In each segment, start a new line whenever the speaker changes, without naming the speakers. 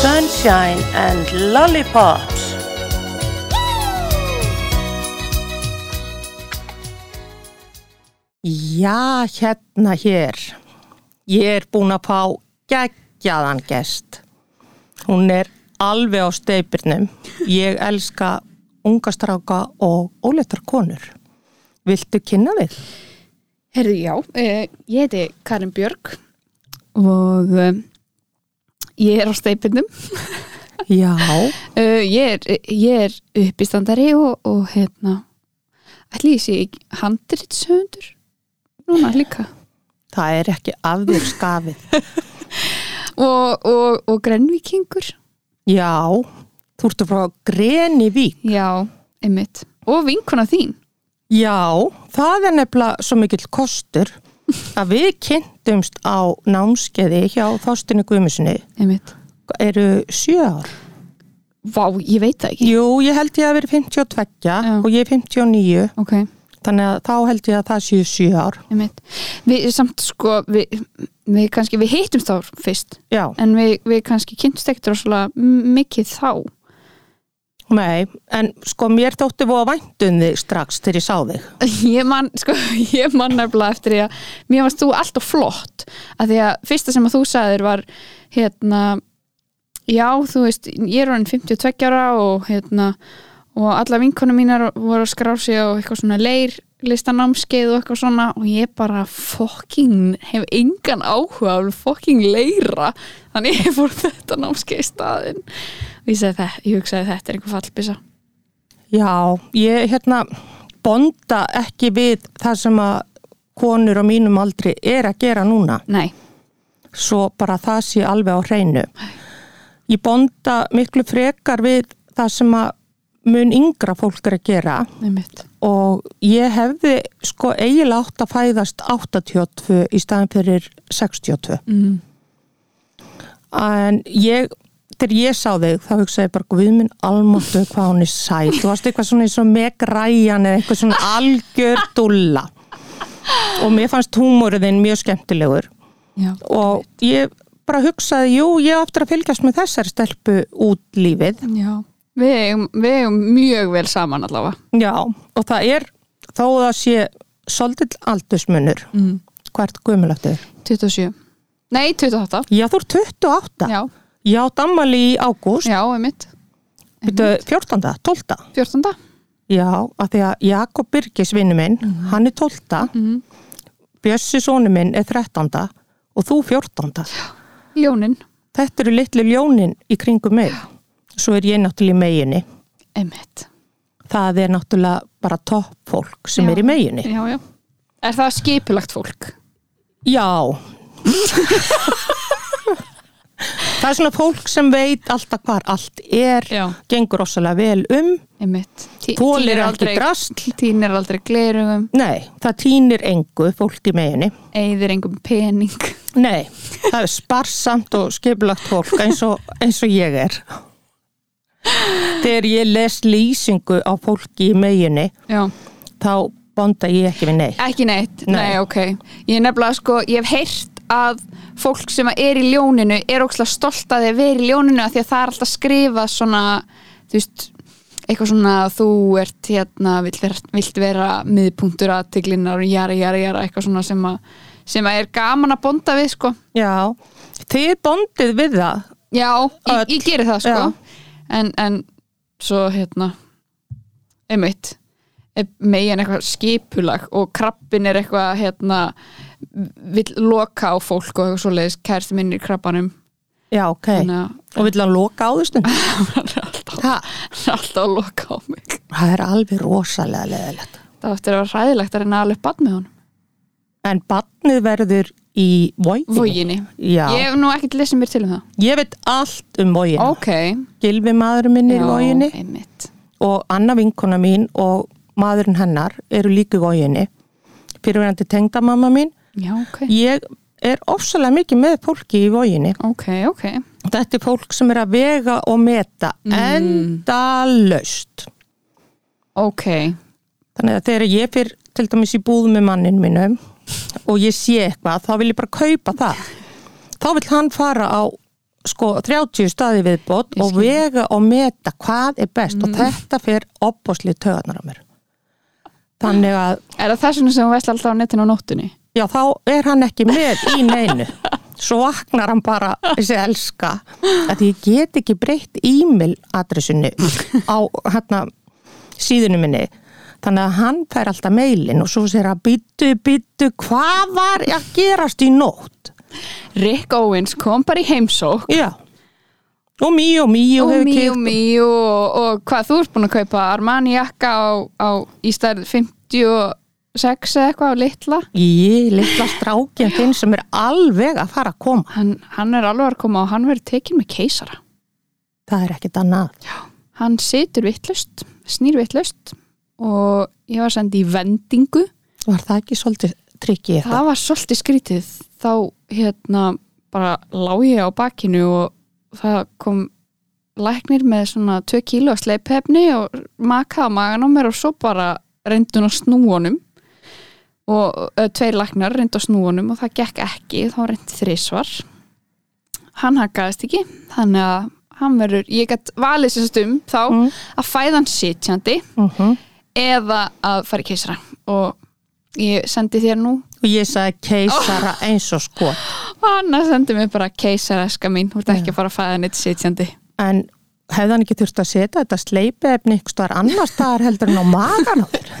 sunshine and lollipops. Já, hérna hér. Ég er búin að fá geggjaðan gest. Hún er alveg á steipirnum. Ég elska unga stráka og óleittar konur. Viltu kynna þig?
Herðu, já, eh, ég heiti Karin Björg og eh, ég er á steipinum.
Já,
Eh, Ég er, ég er uppistandari og, og hérna, ætli ég sé ekki handritshöndur núna líka
það er ekki af þér skafið.
og, og, og grenvíkingur,
Já, þú ertu frá Grenivík.
já, einmitt, og vinkona þín.
Já, það er nefnilega svo mikill kostur að við kynntumst á námskeiði hjá Þorstinu Guðmusinni
Einmitt.
eru sjö ár.
Vá, ég veit það ekki.
Jú, ég held ég að vera 52
Já.
og ég er 59
Ok,
þannig að þá held ég að það séu sjö ár.
einmitt. Við samt sko, við, við kannski, við hittumst þá fyrst,
Já,
en við, við kannski kynntumst ekkert rosalega m- mikið þá.
nei, en sko mér þótti voða væntum þig strax þegar ég sá þig.
Ég man, sko, ég man nefnilega eftir því að mér varst þú alltaf flott að því að fyrsta sem að þú sagðir var hérna já, þú veist, ég er orðin 52 ára og hérna og alla vinkonum mínar voru að skrá sig og eitthvað svona leir listanámskeið og eitthvað svona og ég bara fokking hef engan áhuga af fokking leira þannig ég fór þetta námskeið í staðinn og ég, sagði, "Þe- ég hugsaði þetta er einhver fallbisa
Já, ég hérna bonda ekki við það sem að konur á mínum aldri er að gera núna.
Nei,
svo bara það sé alveg á hreinu. Ég bonda miklu frekar við það sem að mun yngra fólk er að gera
einmitt
og ég hefði sko eiginlega átt að fæðast 82 í staðan fyrir 62.
mm.
En ég, þegar ég sá þig, þá hugsaði ég bara, guð minn almáttu hvað hún er sæt. Þú varst eitthvað svona eins og Meg Ryan eða eitthvað svona algjör dulla. Og mér fannst húmóriðin mjög skemmtilegur.
Já,
og ég bara hugsaði, jú, ég á eftir að fylgjast með þessari stelpu út lífið
Já, við eigum, við eigum mjög vel saman allavega.
já, og það er þó að það sé svolítill aldursmunur mm. hvert guðmjöldið
27. Nei, 28.
já, þú er 28
Já,
ég átt ammali í ágúst
já, einmitt.
byrju, 14. 12.
14.
já, af því að Jakob Birgis vinnu minn, hann er 12 mm. Bjössi sonu minn er 13 og þú 14
Ljónin.
þetta eru litlu ljónin í kringum mig svo er ég náttúrulega í meginni
Einmitt.
það er náttúrulega bara topp fólk sem
Já.
er í meginni.
Já, já. Er það skipulagt fólk?
Já. það er svona fólk sem veit alltaf hvar allt er,
Já.
gengur rosalega vel um,
Einmitt. Tí-
þólir
tínir
aldrei drast.
Tínir aldrei glerugum,
Nei, það týnir engu fólk í meginni.
eigðir engum pening.
Nei, það er sparsamt og skipulagt fólk eins og, eins og ég er. Þegar ég les lýsingu á fólki í meginni,
Já.
þá bonda ég ekki við neitt.
Ekki neitt,
Nei.
nei, ok Ég er nefnilega sko, ég hef heyrt að fólk sem er í ljóninu er ókslega stolt að þeir vera í ljóninu af því að það er alltaf skrifað svona þú veist, eitthvað svona þú ert hérna, vilt vera, vilt vera miðpunktur aðteglinnar og jara, jara, jara eitthvað svona sem að sem að er gaman að bonda við sko
Já, þið bondið við það
Já,
Öll.
ég, ég geri það sko en, en svo hérna einmitt er megin eitthvað skipulag og krabbin er eitthvað hérna vill loka á fólk og eitthvað svoleiðis kærstu minni í krabbanum
Já, ok.
þannig
Og vill hann loka á því stund?
að alltaf,
Ha,
alltaf að loka á mig
það er alveg rosalega leðilegt.
það áttur að vera ræðilegt að reyna að alveg bann með honum
En barnið verður í vóginni.
voginni,
Já,
ég
ég...
hef nú ekkert lesið mér til um það
veit allt um vógin.
ok,
Gilvi maður minn er í vóginni
einmitt
og Anna vinkona mín og maðurinn hennar eru líka í vóginni. Fyrirverandi tengdamamma mín.
já, ok,
Ég er ofsalega mikið með fólki í vóginni.
ok, ok
Þetta er fólk sem er að vega og meta Mm. endalaust.
ok,
Þannig að þegar ég fyrir til dæmis í búð með mannin mínum og ég sé eitthvað, þá vil ég bara kaupa það. Þá vil hann fara á sko 30 staði viðbót
Ég
og
skil. Mm.
vega og meta hvað er best og þetta fer opposlið tögarnar á mér þannig að
Er það þess vegna sem hún vesla alltaf á netinu á nóttunni?
já þá er hann ekki með í neinu svo vaknar hann bara þessi elska að ég get ekki breytt e-mail adressinu á hérna síðinu minni þannig að hann fær alltaf mailin og svo sér að býttu, býttu hvað var að gerast í nótt
Rick Owens kom bara í heimsók
já og míu, míu
og
hefur
míu,
keikt
míu og, og hvað þú ert búin að kaupa Armani jakka á, á í stærð 56 eða eitthvað á litla
Í litla strákinn þinn sem er alveg að fara að koma.
hann, hann er alveg að koma og hann verður tekin með keisara
Það er ekkit annað.
hann situr vittlust, snýr vittlust og ég var sendið í vendingu
Var það ekki svolítið trikkið þetta?
það var svolítið skrítið þá hérna bara lá ég á bakinu og það kom læknir með svona 2 kíló sleipefni og makaða magan á mér og svo bara reyndun á snúunum og ö, tveir læknar reyndu á snúunum og það gekk ekki þá reyndi þrisvar hann hakaðist ekki þannig að hann verður, ég gætt valið sérst um þá
Mm.
að fæðan sitjandi
Uh
eða að fara í keisara og ég sendi þér nú
Og ég sagði keisara eins og sko." skot.
og Anna sendi mér bara keisaraska mín, þú ert ekki að fara að fæða neitt sitjandi
En hefði hann ekki þurft að setja þetta sleipiefni ykkur staðar annar staðar heldur en á magan á þér?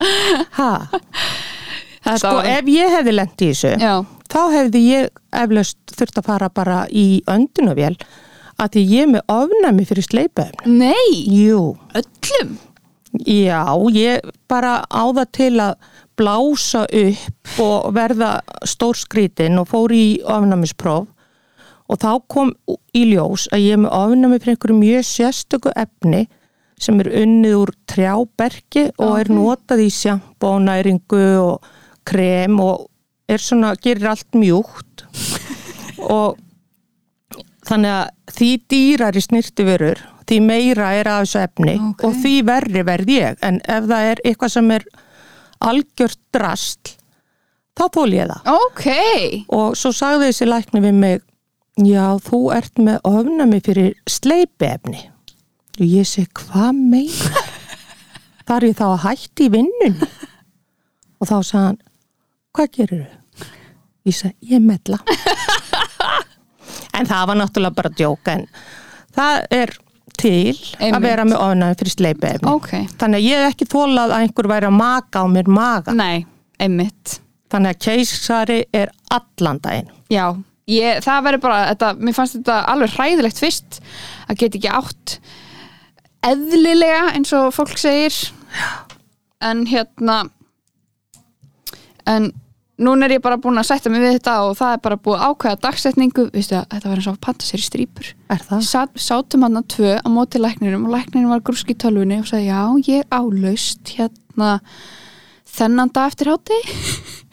Ha,
Þetta
sko
var-
ef ég hefði lent í þessu,
Já,
þá hefði ég eflaust þurft að fara bara í öndunavél að því ég er með ofnæmi fyrir sleipiefni.
nei,
Jú.
öllum
Já, ég bara áða til að blása upp og verða stórskrítin og fór í ofnamispróf og þá kom í ljós að ég er með ofnami fyrir einhverju mjög sérstöku efni sem er unnið úr trjáberki og er notað í sjampo og næringu og krem og er svona, gerir allt mjúkt og þannig að því dýrari snirtiverur því meira er af þessu efni
Ókei.
og því verri verð ég en ef það er eitthvað sem er algjört drast þá þól ég það
Ok,
og svo sagði þessi lækni við mig já þú ert með ofnami fyrir sleipiefni og ég segi hvað meina þar ég þá að hætti í vinnun og þá sagði hann hvað gerir þau? Ég segi ég mella en það var náttúrulega bara djók en það er til
Einmitt.
að vera með ofnami fyrir sleipiefni
ok
þannig að ég hef ekki þólað að einhver væri að maka á mér maga
Nei, einmitt
þannig að keisari er allan daginn
Já, ég, það verður bara þetta, mér fannst þetta alveg hræðilegt fyrst að geta ekki átt eðlilega eins og fólk segir en hérna en núna er ég bara búin að sætta mig við þetta og það er bara búið að ákveða dagsetningu Vistu, að þetta var eins og að panta sér í strýpur
er það?
Sat, sátum hann að tvö á móti læknirum og læknirum var grúski í tölvunni og sagði já, ég álaust hérna þennan dag eftir hátti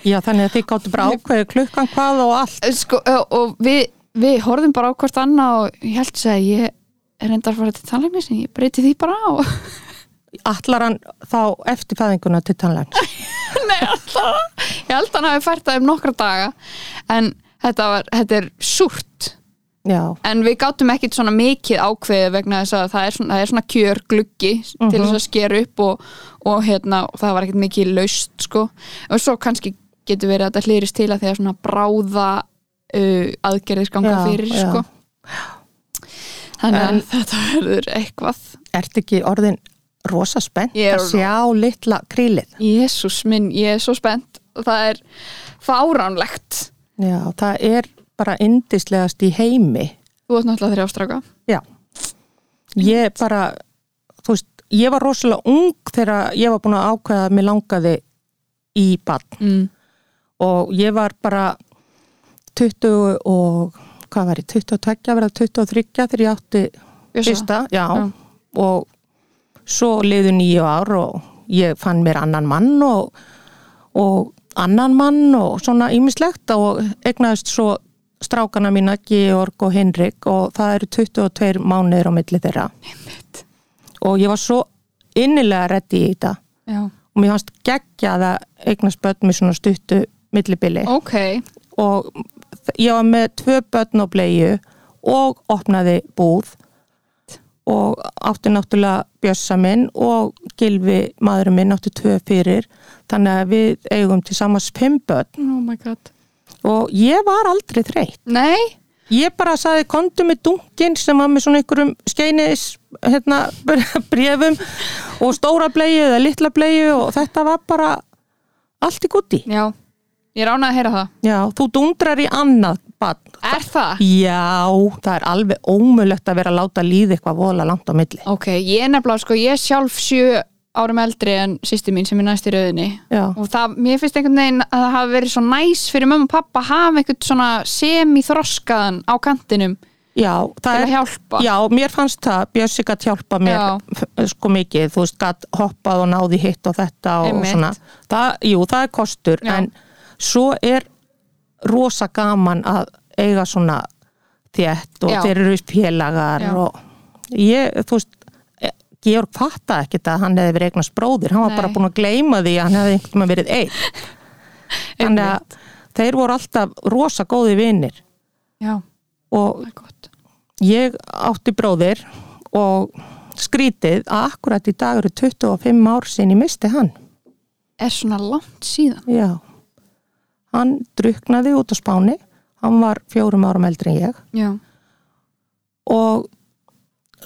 Já, þannig að þið gáttu bara ákveðu klukkan hvað og allt.
sko, ö, og við, við horfðum bara á hvort annað og ég held að ég er reyndar að fara til tannleiknis en ég breyti því bara á
Allar hann þá eftir fæðinguna til tannlegin.
Nei, alltaf ég held að hann hafi fært það um nokkra daga en þetta, var, þetta er súrt
Já,
en við gátum ekkit svona mikið ákveðið vegna þess að það er svona, það er svona kjör gluggi til þess að skera upp og, og hérna, og það var ekkit mikið laust sko, og svo kannski getur verið að þetta hlýrist til að því að svona bráða uh, aðgerðis ganga
Já,
fyrir
já.
sko þannig að þetta verður eitthvað
ert ekki orðin rosa spennt
Ég er
að sjá litla krílið.
Jésús minn, ég er svo spennt og það er fáránlegt
Já, það er bara indislegast í heimi.
þú ert náttúrulega þrjástráka
Já, ég bara, þú veist, ég var rosalega ung þegar ég var búin að ákveða að mér langaði í bann
mm.
og ég var bara 20 og, hvað var ég, 22 að verða 23 þegar ég átti
Bjössa.
fyrsta, já,
Já.
og svo liðu nýju ár og ég fann mér annan mann og, og annan mann og svona ýmislegt og egnaðist svo strákana mína Georg og Henrik og það eru 22 mánuðir á milli þeirra
Einmitt.
og ég var svo innilega reddi í þetta
Já.
og mér fannst geggjað að eignast börn með svona stuttu millibili
ok,
og ég var með tvö börn og bleiðu og opnaði búð og átti náttúrulega Bjössa minn og Gilvi maðurinn minn átti tvö fyrir þannig að við eigum til samans fimm börn
Oh my god.
og ég var aldrei þreytt
Nei,
ég bara saði komdu með dunkin sem var með svona einhverjum skeinis hérna, brefum og stóra bleiðu eða litla bleiðu og þetta var bara allt í gutti
já. Ég er ánað að heyra það.
Já, þú dundrar í annað barn.
Er það?
Já, það er alveg ómulegt að vera að láta líði eitthvað vola langt á milli.
Ok, ég er nefnilega sko, ég er sjálf sjö árum eldri en sýsti mín sem er næst í rauðinni
Já.
og það, mér finnst einhvern veginn að það hafi verið svo næs fyrir mömmu og pappa að hafa einhvern svona semi-þroskaðan á kantinum
Já, það
til að
er...
hjálpa
Já, mér fannst það, Bjössi gætt hjálpa mér
Já.
f- sko mikið, þú veist, gætt hoppað og náði hitt og þetta og
Einmitt.
svona. Það, jú, það er kostur,
Já.
en svo er rosa gaman að eiga svona þétt og
Já.
þeir eru félagar
Já.
og ég, þú veist, eh, Georg fatta ekkit að hann hefði verið eignast bróðir, hann var
Nei.
bara búin að gleyma því að hann hefði einhvern veginn verið einn. Þannig að þeir voru alltaf rosa góði vinir
já,
og
það er gott
ég átti bróðir og skrítið að akkurat í dag eru 25 ár sinni misti hann
er svona langt síðan
já hann druknaði út á spáni hann var fjórum árum eldri en ég
já,
og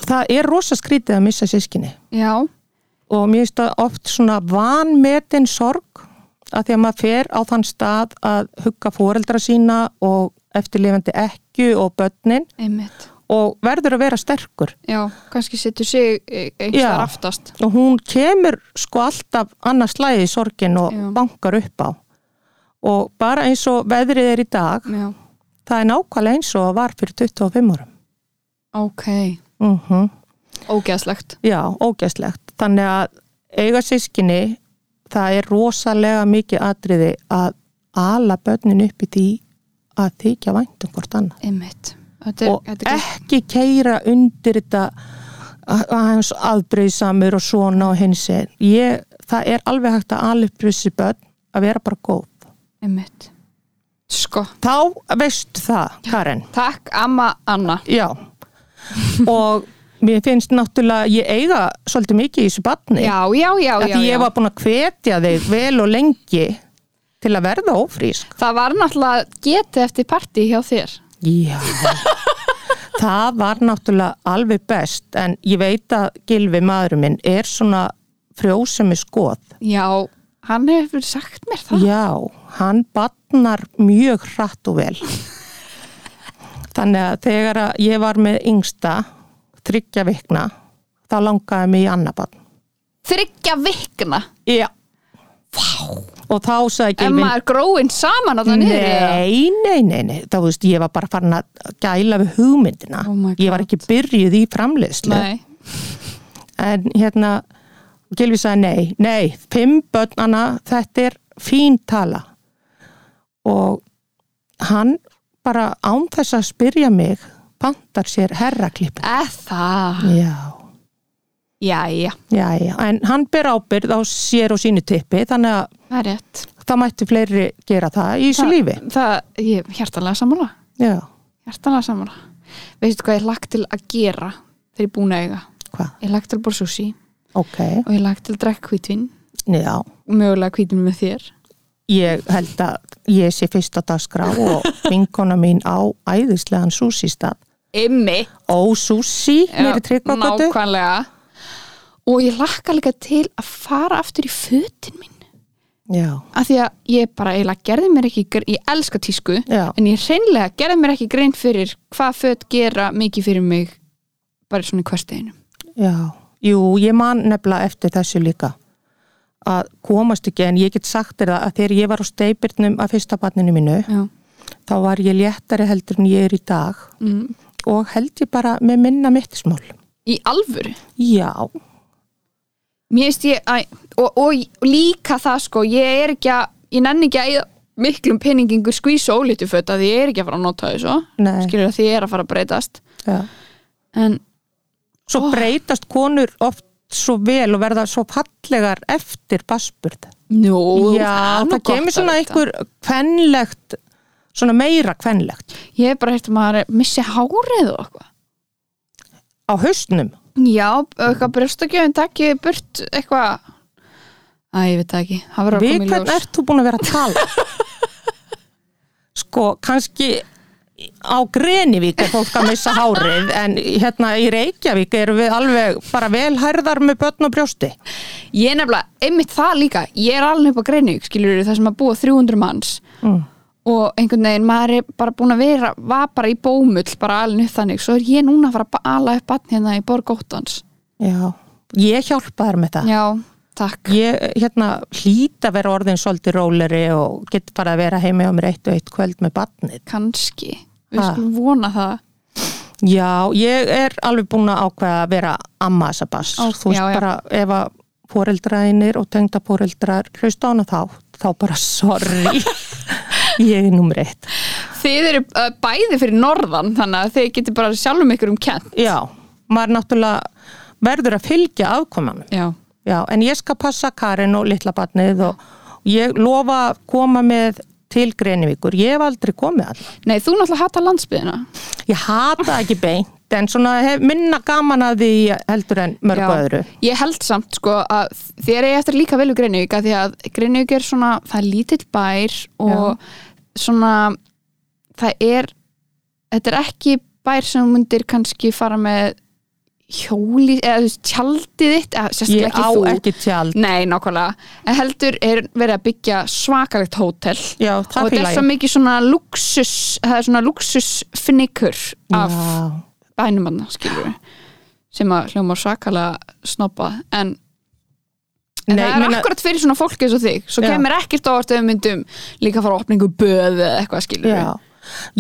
það er rosa skrítið að missa sískinni
já,
og mér finnst það oft svona vanmetin sorg að því að maður fer á þann stað að hugga foreldra sína og eftirlifandi ekku og börnin
einmitt
og verður að vera sterkur
já, kannski setur sig eh, einhvers
Já.
þar aftast
og hún kemur sko alltaf annars slæði í sorgin og
Já.
bankar upp á og bara eins og veðrið er í dag
já,
það er nákvæmlega eins og var fyrir 25 árum
ok,
mm
ógeðslegt
já, ógæslegt þannig að eiga sískinni það er rosalega mikið atriði að ala börnin upp í því að þykja væntum hvort annað
einmitt þetta er,
og
þetta er,
ekki keira undir þetta að að hans aðbreyðsamur og svona og hins ég, það er alveg hægt að alveg þessi börn að vera bara góð
einmitt sko,
þá veist það, Karen
takk amma Anna
já og mér finnst náttúrulega ég eiga svolítið mikið í þessu barni
já, já, já,
að
já,
því
já.
ég var búin að hvetja þig vel og lengi til að verða ófrísk
Það var náttúrulega getið eftir partí hjá þér.
já það var náttúrulega alveg best en ég veit að Gilvi maðurinn minn er svona frjósemi skoð
Já, hann hefur sagt mér það.
Já, hann batnar mjög hratt og vel. Þannig að þegar að ég var með yngsta, þryggja vikna, þá langaði mig í annað batn.
Þryggja vikna.
Já. Vá. Og þá sagði
En
Gilvin,
maður gróin saman á það niður. eða?
nei, nei, nei, nei, þá veist, ég var bara farin að gæla við hugmyndina.
Oh my God.
ég var ekki byrjuð í framleiðslu.
Nei.
En hérna, Gilvi sagði nei, nei, fimm börnana, þetta er fín tala. Og hann bara án þess að spyrja mig, pantar sér herraklippin.
Eða það.
Já,
Jæja,
já, já, en hann ber ábyrð á sér og sínu tippi, þannig að
það er rétt.
það mætti fleiri gera það í þessu
Það-
lífi.
Það, ég, hjartanlega sammála.
Já,
Hjartanlega sammála. Veistu hvað ég lagt til að gera þegar ég er búin að eiga?
hvað?
Ég lagt til að bóra sushi
Ok,
og ég lagt til að drekka hvítvin.
já,
Mögulega hvítvin með þér.
ég held að ég sé fyrst á dagskrá og vinkona mín á æðislegan súsístað.
Ymmi.
Ó, súsí,
Já,
mér er tryggvagötu.
nákvæmlega og ég lakka líka til að fara aftur í fötin mín
Já,
af því að ég bara eiginlega gerði mér ekki gr- ég elska tísku,
Já.
en ég hreinlega gerði mér ekki grein fyrir hvað föt gera mikið fyrir mig bara svona í hversteginu
já. Jú, ég man nefnilega eftir þessu líka að komast ekki en ég get sagt þér það að þegar ég var á steipirnum af fyrsta barninu mínu
Já.
þá var ég léttari heldur en ég er í dag
Mm.
og held ég bara með minna mittismál.
í alvöru
Já,
Mér veist ég, æ, og, og, og líka það sko, ég er ekki að ég nenni ekki að eyða miklum peningingur skvísa ólítu föt að ég er ekki að fara að nota þessu
Nei.
skilur að því ég er að fara að breytast
já.
en
Svo breytast konur oft svo vel og verða svo fallegar eftir basburð.
Nú,
já,
er nú
það
gott
kemur
að
svona
vita.
einhver kvennlegt svona meira kvenlegt
Ég hef bara hægt að maður missi hárið og eitthvað.
á haustnum
Já, eitthvað brjóstakjöfum takki burt eitthvað. Æ, ég veit það ekki. Það verður að
Við
koma í
hvern
ljós.
ert þú búin að vera að tala? sko, kannski á Grenivík er fólk að missa hárið en hérna í Reykjavík erum við alveg bara velhærðar með börn og brjósti
Ég er nefnilega, einmitt það líka. Ég er alveg upp á Greinvík, skilur það sem að búa 300 manns.
mm.
og einhvern veginn maður er bara búin að vera var bara í bómull, bara alveg upp þannig svo er ég núna að fara að ba- ala upp batn hérna í Borgóttans
Já, ég hjálpa þær með það
já, takk
Ég hérna hlýt að vera orðin svolítið róleri og get bara að vera heimi á mér eitt og eitt kvöld með barnið.
kannski, við
Ha.
skulum vona það
Já, ég er alveg búin að ákveða að vera amma þessa bass.
Ó,
Þú veist
já, já.
bara ef að foreldraðinir og tengda foreldrar hlusta á hana þá, þá bara sorry. ég er nummer eitt.
þið eru uh, bæði fyrir norðan þannig að þið getur bara sjálfum ykkur um kent
Já, maður náttúrulega verður að fylgja afkomanum.
já,
Já, en ég skal passa Karin og litla barnið og og ég lofa að koma með til Grenivíkur. Ég hef aldrei komið allir.
nei, þú náttúrulega hata landsbyðina
Ég hata það ekki beint en svona hef minna gaman að því heldur en mörgu öðru.
ég held samt sko að þér er eftir líka vel við Greinvík að því að Greinvík er svona, það er lítill bær og svona það er þetta er ekki bær sem þú myndir kannski fara með hjóli eða þú veist, tjaldið þitt eða,
Ég á
sérstaklega ekki þú
ekki tjald.
Nei, nákvæmlega, en heldur er verið að byggja svakalegt hótel
Já,
og
það
þetta
fíla
er svo
ég.
mikið svona luxus það er svona luxusfinnikur af
Já,
bænumanna skilur sem að hljóma svakalega snoppa en, en
Nei,
það er
meina-
akkurat fyrir svona fólk eins og þig svo
Já.
kemur ekkert ávart ef við myndum líka fara að opningu böð eða eitthvað skilur
já.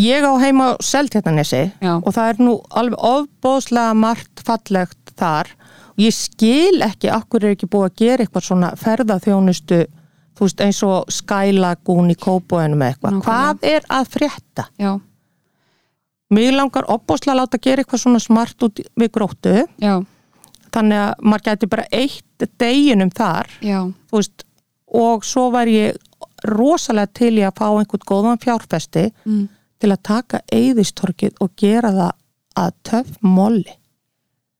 Ég á heima á Seltjarnanesi
Já.
og það er nú alveg ofbóðslega margt fallegt þar og ég skil ekki akkur er ekki búið að gera eitthvað svona ferðaþjónustu þú veist eins og skælagún í kópóinu með eitthvað.
Nákvæmlega.
Hvað er að frétta?
já,
Mér langar ofbóðslega að láta gera eitthvað svona smart út við gróttu
já,
þannig að maður gæti bara eitt deginum þar
já,
þú veist, og svo var ég rosalega til í að fá einhvern góðan fjárfesti
Mm.
til að taka eyðistorkið og gera það að töff molli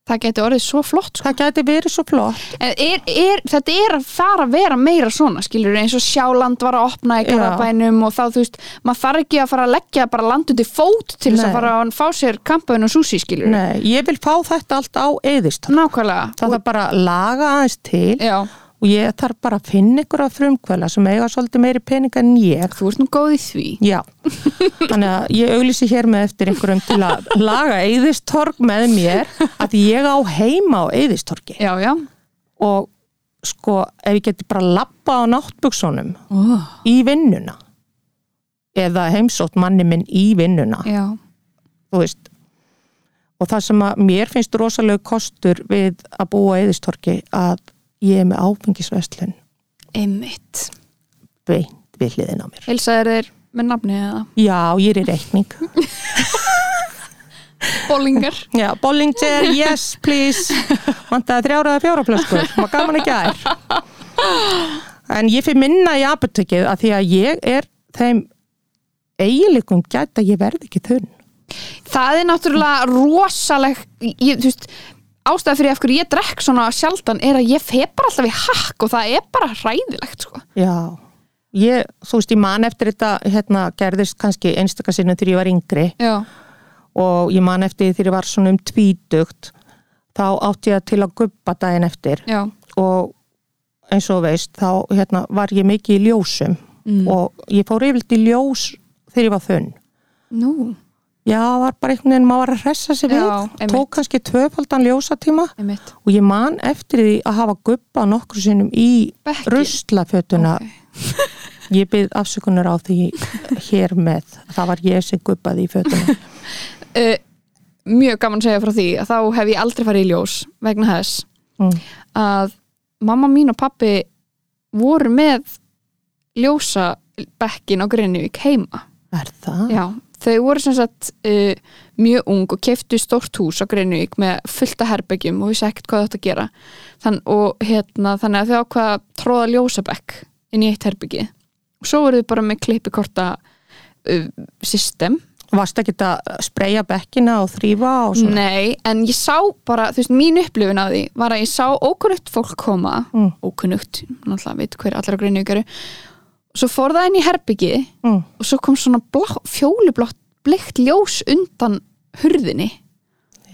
það geti orðið svo flott sko.
það gæti verið svo flott
en er, er, þetta er að fara að vera meira svona skilur eins og sjáland var að opna í
Já.
garabænum og þá þú veist maður þarf ekki að fara að leggja bara land út í fót til þess
Nei.
að fara að fá sér kampaðin og súsi skilur
Nei, ég vil fá þetta allt á eyðistorkið
nákvæmlega
það
Og-
þarf bara að laga aðeins til
já,
og ég þarf bara að finna ykkur að frumkvöla sem eiga svolítið meiri peninga en ég
þú ert nú góð í því
Já, þannig að ég auglýsi hér með eftir einhverjum til að laga eyðistorg með mér að því ég á heima á eyðistorgi
já, já
og sko ef ég geti bara lappa á náttbuksunum
oh.
í vinnuna eða heimsótt manni minn í vinnuna
Já,
þú veist og það sem að mér finnst rosalegu kostur við að búa á eðistorki að ég er með áfengisveslun
einmitt.
beint við hliðin á mér
Hilsaðir þeir með nafni eða
já, ég er í reikning
bólingar.
já, Bollinger, yes, please vantaði þrjáraða fjóra flöskur var gaman ekki að en ég fyrir minna í apotekið að því að ég er þeim eiginleikum gætt að ég verð ekki þunn
Það er náttúrulega rosaleg, ég, þú veist, ástæða fyrir af hverju ég drekk svona sjaldan er að ég feg bara alltaf í hakk og það er bara hræðilegt, sko.
Já, ég, þú veist, ég man eftir þetta hérna, gerðist kannski einstaka sinnum þegar ég var yngri
Já,
og ég man eftir því þegar ég var svona um tvítugt þá átti ég til að gubba daginn eftir
já,
og eins og þú veist, þá hérna, var ég mikið í ljósum
Mm.
og ég fór yfirlt í ljós þegar ég var þunn.
nú,
Já, það var bara einhvern veginn, maður var að hressa sig við,
Já, einmitt.
tók kannski tvöfaldan ljósatíma
einmitt.
og ég man eftir því að hafa gubba nokkru sinnum í
Bekkin.
ruslafötuna
Ok.
Ég byrð afsökunar á því hér með. Það var ég sem guppaði í fötunum.
Uh, mjög gaman að segja frá því að þá hef ég aldrei farið í ljós vegna þess
Mm.
að mamma mín og pappi voru með ljósa bekkin á Grinnivík heima.
Er það?
Já, þau voru sem sagt uh, mjög ung og keftu stórt hús á Greinvík með fullta herbyggjum og vissi ekkert hvað þetta að gera Þann, og hérna, þannig að þau ákvaða tróða ljósabekk inn í eitt herbyggi og svo voru þau bara með klippikorta uh, system
Varst ekki að spreja bekkina og þrýfa og svona?
Nei, en ég sá bara, þú veist, mín upplifun af því var að ég sá ókunnugt fólk koma
Mm.
ókunnugt, náttúrulega veit hver allra grunni ykkar svo fór það inn í herbyggi
Mm.
og svo kom svona blá, fjólublátt bleikt ljós undan hurðinni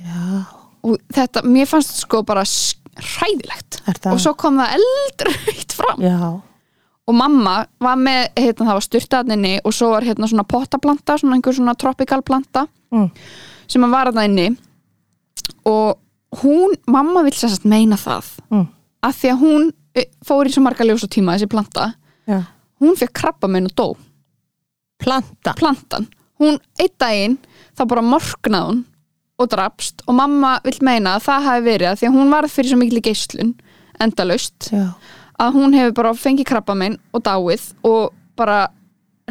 Já,
og þetta, mér fannst sko bara s- hræðilegt
er það?
og svo kom það eldraut fram
Já,
og mamma var með, hérna, það var styrtaðninni og svo var hérna svona pottaplanta svona einhver svona tropical planta
Mm.
sem að vara það inni og hún, mamma vill sem sagt meina það
Mm.
að því að hún eh, fór í svo marga ljósa tíma þessi planta,
já.
hún fekk krabba minn og dó,
Planta.
plantan hún, einn daginn, þá bara morgnaði hún og drapst og mamma vill meina að það hafi verið að því að hún varð fyrir svo mikil geislun endalaust
Já,
að hún hefur bara fengið krabba minn og dáið og bara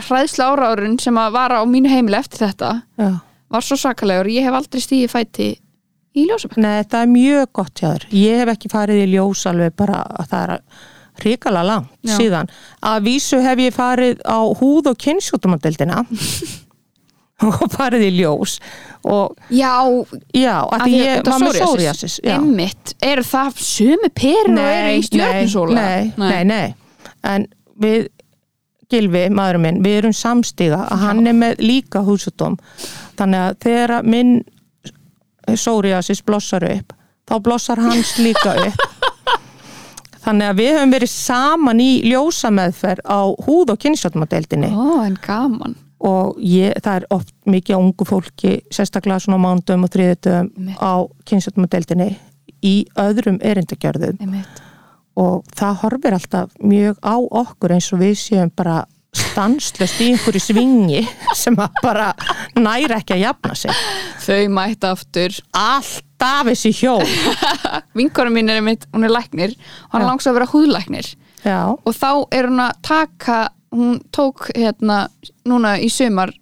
hræðsla árárun sem að vara á mínu heimili eftir þetta
já.
var svo sakalegur, ég hef aldrei stíði fæti í ljósabæk.
Nei, þetta er mjög gott hjá þér. Ég hef ekki farið í ljós alveg bara að það er ríkala langt
Já.
síðan. Að vísu hef ég farið á húð og kynnsjútumadeldina og farið í ljós og
Já,
já, að
af
því
því að
ég
út af
var með
psoriasis.
psóriasis. já.
Einmitt, eru það sömu perur og eru í stjörnusóla?
nei, nei, nei, en við Gilvi, maðurinn minn, við erum samstíga að hann er með líka húsutum þannig að þegar að minn sóriasis blossar upp þá blossar hans líka upp þannig að við höfum verið saman í ljósameðferð á húð- og kynnsjóttmadeildinni
Ó, en gaman.
og ég, það er oft mikið á ungu fólki, sérstaklega svona á mándum og þriðutum
Einmitt.
á kynnsjóttmadeildinni í öðrum erindagjörðum
Einmitt.
og það horfir alltaf mjög á okkur eins og við séum bara stanslöst í einhverju svingi sem að bara næra ekki að jafna sig
Þau mætt aftur.
alltaf þessi hjól
Vinkorum mín er einmitt, hún er læknir og hann
Já.
langs að vera húðlæknir.
já,
og þá er hún að taka hún tók hérna núna í sömar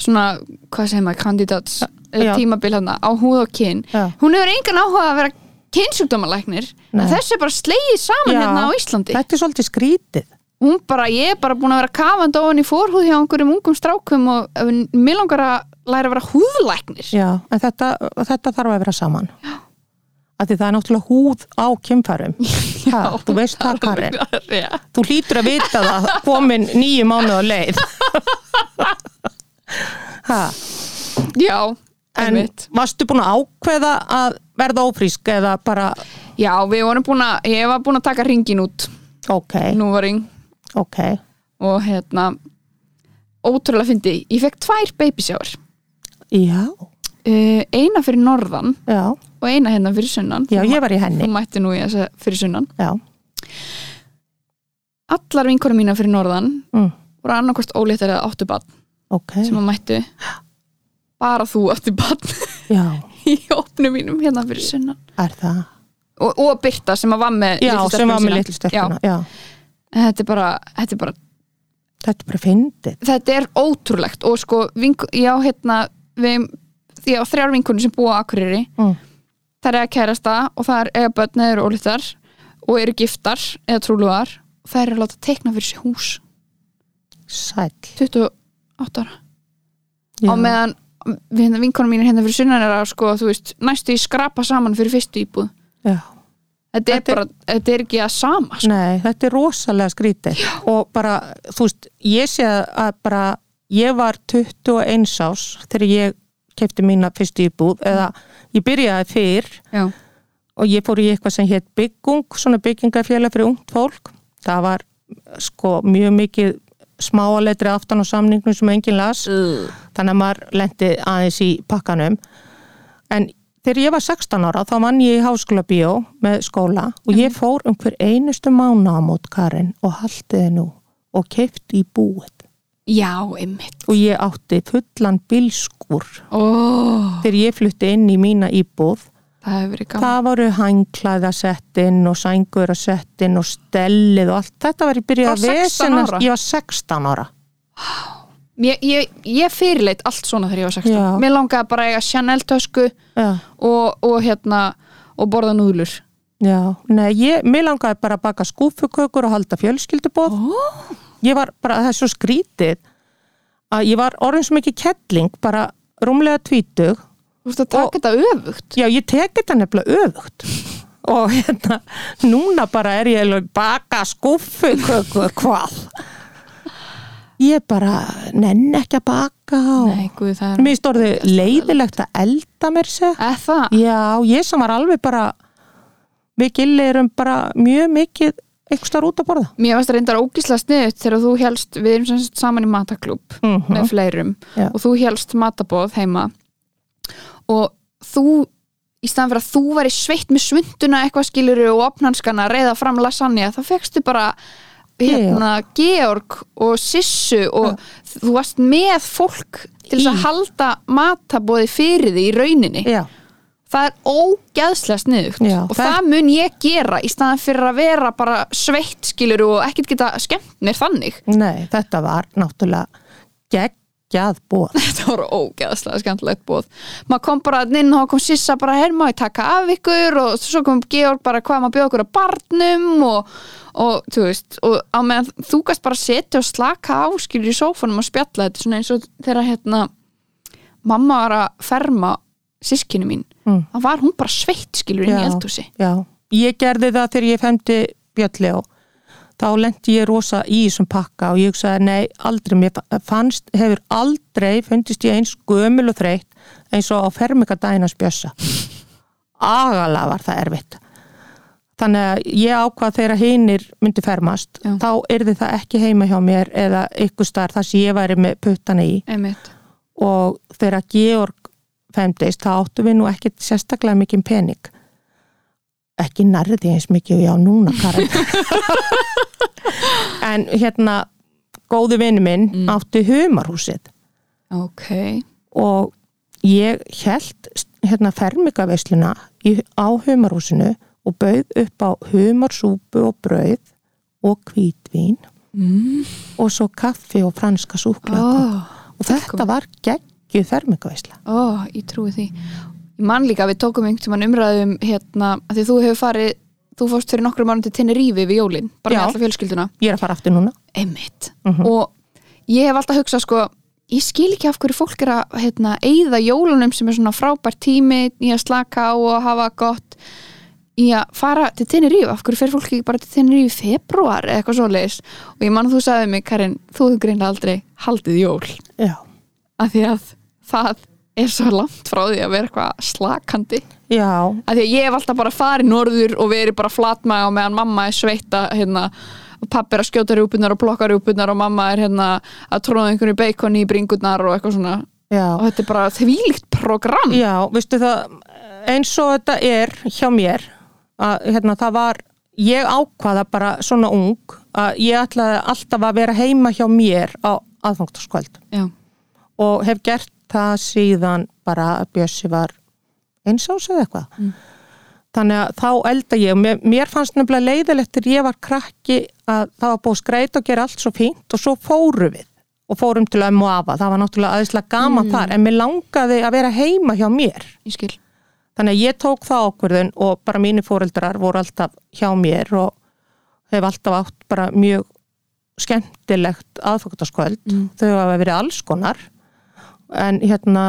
svona, hvað segir maður, kandidats
já.
eða tímabil hérna, á húð og kyn
Já.
hún hefur engan áhuga að vera kynsjúkdómalæknir
Nei.
en þessi er bara slegið saman
Já.
hérna á Íslandi
þetta er svolítið skrítið
hún bara, ég er bara búin að vera kafandi ofan í forhúð hjá einhverjum ungum strákum og ef hún- mig langar að læra að vera húðlæknir
já, en þetta, þetta þarf að vera saman já. að því það er náttúrulega húð á kynfærum já, þú veist það Karin
Já.
þú hlýtur að vita það komin nýju mánuð á leið ha,
Já,
en
einmitt
varstu búin að ákveða að verða ófrísk eða bara,
Já, við vorum búin að, ég var búin að taka ringin út
ok
nú var ring
Ok,
og hérna ótrúlega fyndi, ég fekk tvær babysjáur
já,
uh, eina fyrir norðan
já,
og eina hérna fyrir sunnan
já, ég var í
þú
henni,
mætti nú í þessa fyrir sunnan
já,
allar vinkonum mína fyrir norðan
mm,
voru annarkvort óléttar eða áttu badn
ok,
sem að mættu bara þú áttu badn
já,
í opnum mínum hérna fyrir sunnan
er það,
og, og Birta sem að var með
já,
litlu
sem
stelpuna
var með
sína.
litlu stelpuna,
Já,
já,
en þetta er bara, þetta er bara
þetta er bara fyndið,
þetta er ótrúlegt og sko, vink, já hérna við, ég á þrjár vinkonum sem búa á Akureyri
mm,
þær eiga kærasta og þær eiga börn eða eru ólítar og eru giftar eða trúluðar og þær eru að láta teikna fyrir sér hús
sæll,
28 ára
já,
á meðan við- vinkonum mín hérna fyrir sunnan er að sko, þú veist, næstu í skrapa saman fyrir fyrstu íbúð
já,
þetta er
Þetta er- Mm.
bara, þetta er ekki að sama sko.
nei, þetta er rosalega skrítið og bara, þú veist, ég sé að bara, ég var 21 ás þegar ég kefti mína fyrstu íbúð eða ég byrjaði fyrr
já,
og ég fór í eitthvað sem hétt byggung, svona byggingafélag fyrir ungt fólk. Það var sko mjög mikið smáaletri aftan á samningnum sem enginn las, þannig að maður lendi aðeins í pakkanum. En þegar ég var 16 ára þá vann ég í háskóla bíó með skóla og ég fór um hver einustu mánu á mót Karin og haldiði nú og keipt í búið
já, einmitt
og ég átti fullan bilskur
Ah. Ó,
þegar ég flutti inn í mína íbúð
það hefur verið gaman
það voru hangklæðasettinn og sængurasettinn og stellið og allt þetta var ég byrjuð
Þú
að
var 16
vesena
ára?
ég var 16 ára
ég, ég, ég fyrirleit allt svona þegar ég var 16
Já.
mér langaði bara að eiga Chanel tösku
já,
og, og hérna og borða núðlur
já. Nei, ég, mér langaði bara að baka skúfukökur og halda fjölskyldubóð
Ó,
ég var bara það er svo skrítið að ég var orðin svo mikið kettling bara rúmlega tvítug
Þú veist að taka
Og-
þetta öfugt
já ég tek þetta nefnilega öfugt og hérna núna bara er ég eiginlega að baka skuffu köku hvað ég bara nenn ekki að baka og
Nei, guð, það er
mér stórði leiðilegt að elda mér sér
Eða það?
já ég sem var alveg bara við gillerum bara mjög mikið eitthvað starf út að borða
Mér varst reyndar ógísla sniðut þegar þú helst, við erum sem sagt saman í mataklub
Mhm.
með fleirum
Já.
og þú helst matabóð heima og þú í staðan fyrir að þú væri sveitt með svunduna eitthvað skiluru og opnanskana reyða fram lasagna, þá fegstu bara hérna Georg og Sissu og þú varst með fólk til þess
Í.
að halda matabóði fyrir því í rauninni
já
það er ógeðslega sniðugt
Já,
og
það-
það mun ég gera í staðan fyrir að vera bara sveitt skilur og ekkert geta skemmt mér þannig
Nei, þetta var náttúrulega geggjað bóð.
þetta voru ógeðslega skemmtilegt bóð maður kom bara þarna inn og þá kom Sissa bara hér má ég taka af ykkur og svo kom Georg bara hvað maður bjóð okkur að barnum og, og þú veist og á meðan þú gast bara setja og slaka á skilur í sófanum og spjalla þetta er svona eins og þegar hérna mamma var að ferma sískinu mín
Mm.
þá var hún bara sveitt skilur inn í
Já.
eldhúsi
Já, ég gerði það þegar ég femdi Bjölli og þá lendi ég rosa í þessum pakka og ég hugsaði nei, aldrei, mér fannst, hefur aldrei fundist ég eins gömul og þreytt eins og á fermingadaginn hans bjössa. Agalega var það erfitt. Þannig að ég ákvað þegar hinir myndi fermast,
Já.
þá yrði það ekki heima hjá mér eða ykkur starf þar sem ég væri með puttana í.
einmitt
og þegar Georg femdist, þá áttum við nú ekkit sérstaklega mikið pening ekki nærði eins mikið og já núna Karin en hérna góði vinnu minn átti humarhúsið
Ok,
og ég held hérna fermingaveisluna í, á humarhúsinu og bauð upp á humarsúpu og brauð og hvítvín mm. og svo kaffi og franska súklaku
ó,
og þetta var geggjuð fermingaveisla
ó, ég trúi því Ég man líka að við tókum einhvern tímann umræðum hérna, að því þú hefur farið þú fórst fyrir nokkrum árum til Tenerife við jólin bara
Já.
með alla fjölskylduna
ég er að fara aftur núna
Einmitt. og ég hef alltaf hugsað sko, ég skil ekki af hverju fólk er að hérna, eyða jólunum sem er svona frábær tími í að slaka á og hafa gott í að fara til Tenerife af hverju fer fólk ekki bara til Tenerife í februar eða eitthvað svoleiðis og ég man að þú sagði mig Karin, þú hefur greinlega aldrei haldið jól
já,
af því að það er svo langt frá því að vera eitthvað slakandi
já,
af því að ég hef alltaf bara farið norður og verið bara flatmæg og meðan mamma er sveita hérna, og pappi er að skjóta rjúpunar og blokka rjúpunar og mamma er hérna að tróða einhverju beikon í bringurnar og eitthvað svona
já
og þetta er bara þvílíkt program
já, veistu það eins og þetta er hjá mér að hérna, það var ég ákvaða bara svona ung að ég ætlaði alltaf að vera heima hjá mér á aðfangtaskvöld
Já,
og hef gert það síðan bara að Bjössi var eins ás eða eitthvað þannig að þá elda ég og mér, mér fannst nefnilega leiðilegt þegar ég var krakki að það var búið skreit og gera allt svo fínt og svo fóru við og fórum til ömmu og afa, það var náttúrulega aðeinslega gaman þar en mér langaði að vera heima hjá mér
ég skil
þannig að ég tók það ákvörðun og bara mínir fóreldrar voru alltaf hjá mér og hef alltaf átt bara mjög skemmtilegt aðfoktaskvöld þau hafa verið alls konar en hérna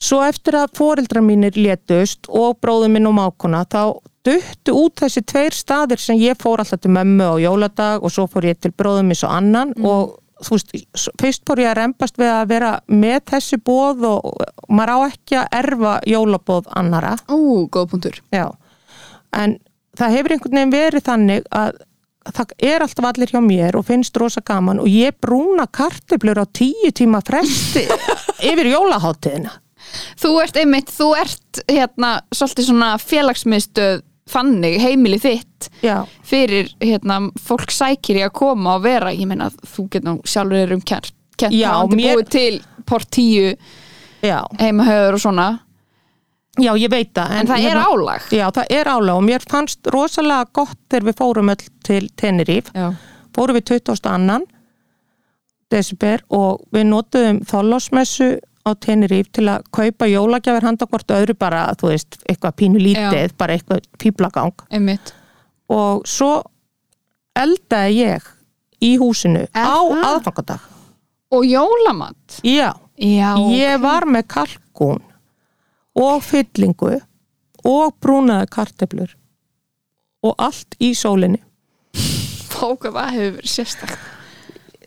svo eftir að fóreldrar mínir létust og bróður minn og mákona þá duttu út þessi tveir staðir sem ég fór alltaf til mömmu á jóladag og svo fór ég til bróður minn svo annan og þú veist, s- fyrst fór ég að rembast við að vera með þessi bóð og og maður á ekki að erfa jólabóð annara
Ú, góð punktur
Já, en það hefur einhvern veginn verið þannig að það er alltaf allir hjá mér og finnst rosa gaman og ég brúna kartöflur á tíu tíma fresti yfir jólaháttiðina.
Þú ert einmitt, þú ert hérna svolítið svona félagsmiðstöð fannig, heimili þitt
Já,
fyrir hérna, fólk sækir í að koma og vera, ég meina þú getur nú sjálfur er um kert, kert
Já,
hafandi
mér-
búið til portíu
já,
heimahöður og svona en,
já, ég veit það.
það er
hérna-
álag
Já, það er álag og mér fannst rosalega gott þegar við fórum öll til Teneríf.
já.
Fórum við 22. desember og við notuðum þollásmessu á Teneríf til að kaupa jólagjafir handa hvort öðru bara, þú veist, eitthvað pínu lítið, bara eitthvað píplagang.
einmitt
og svo eldaði ég í húsinu
Er
á
það?
aðfangadag
og jólamat
Já,
já,
ég var með kalkún og fyllingu og brúnaði karteblur og allt í sólinni
fóka hvað hefur verið sérstakt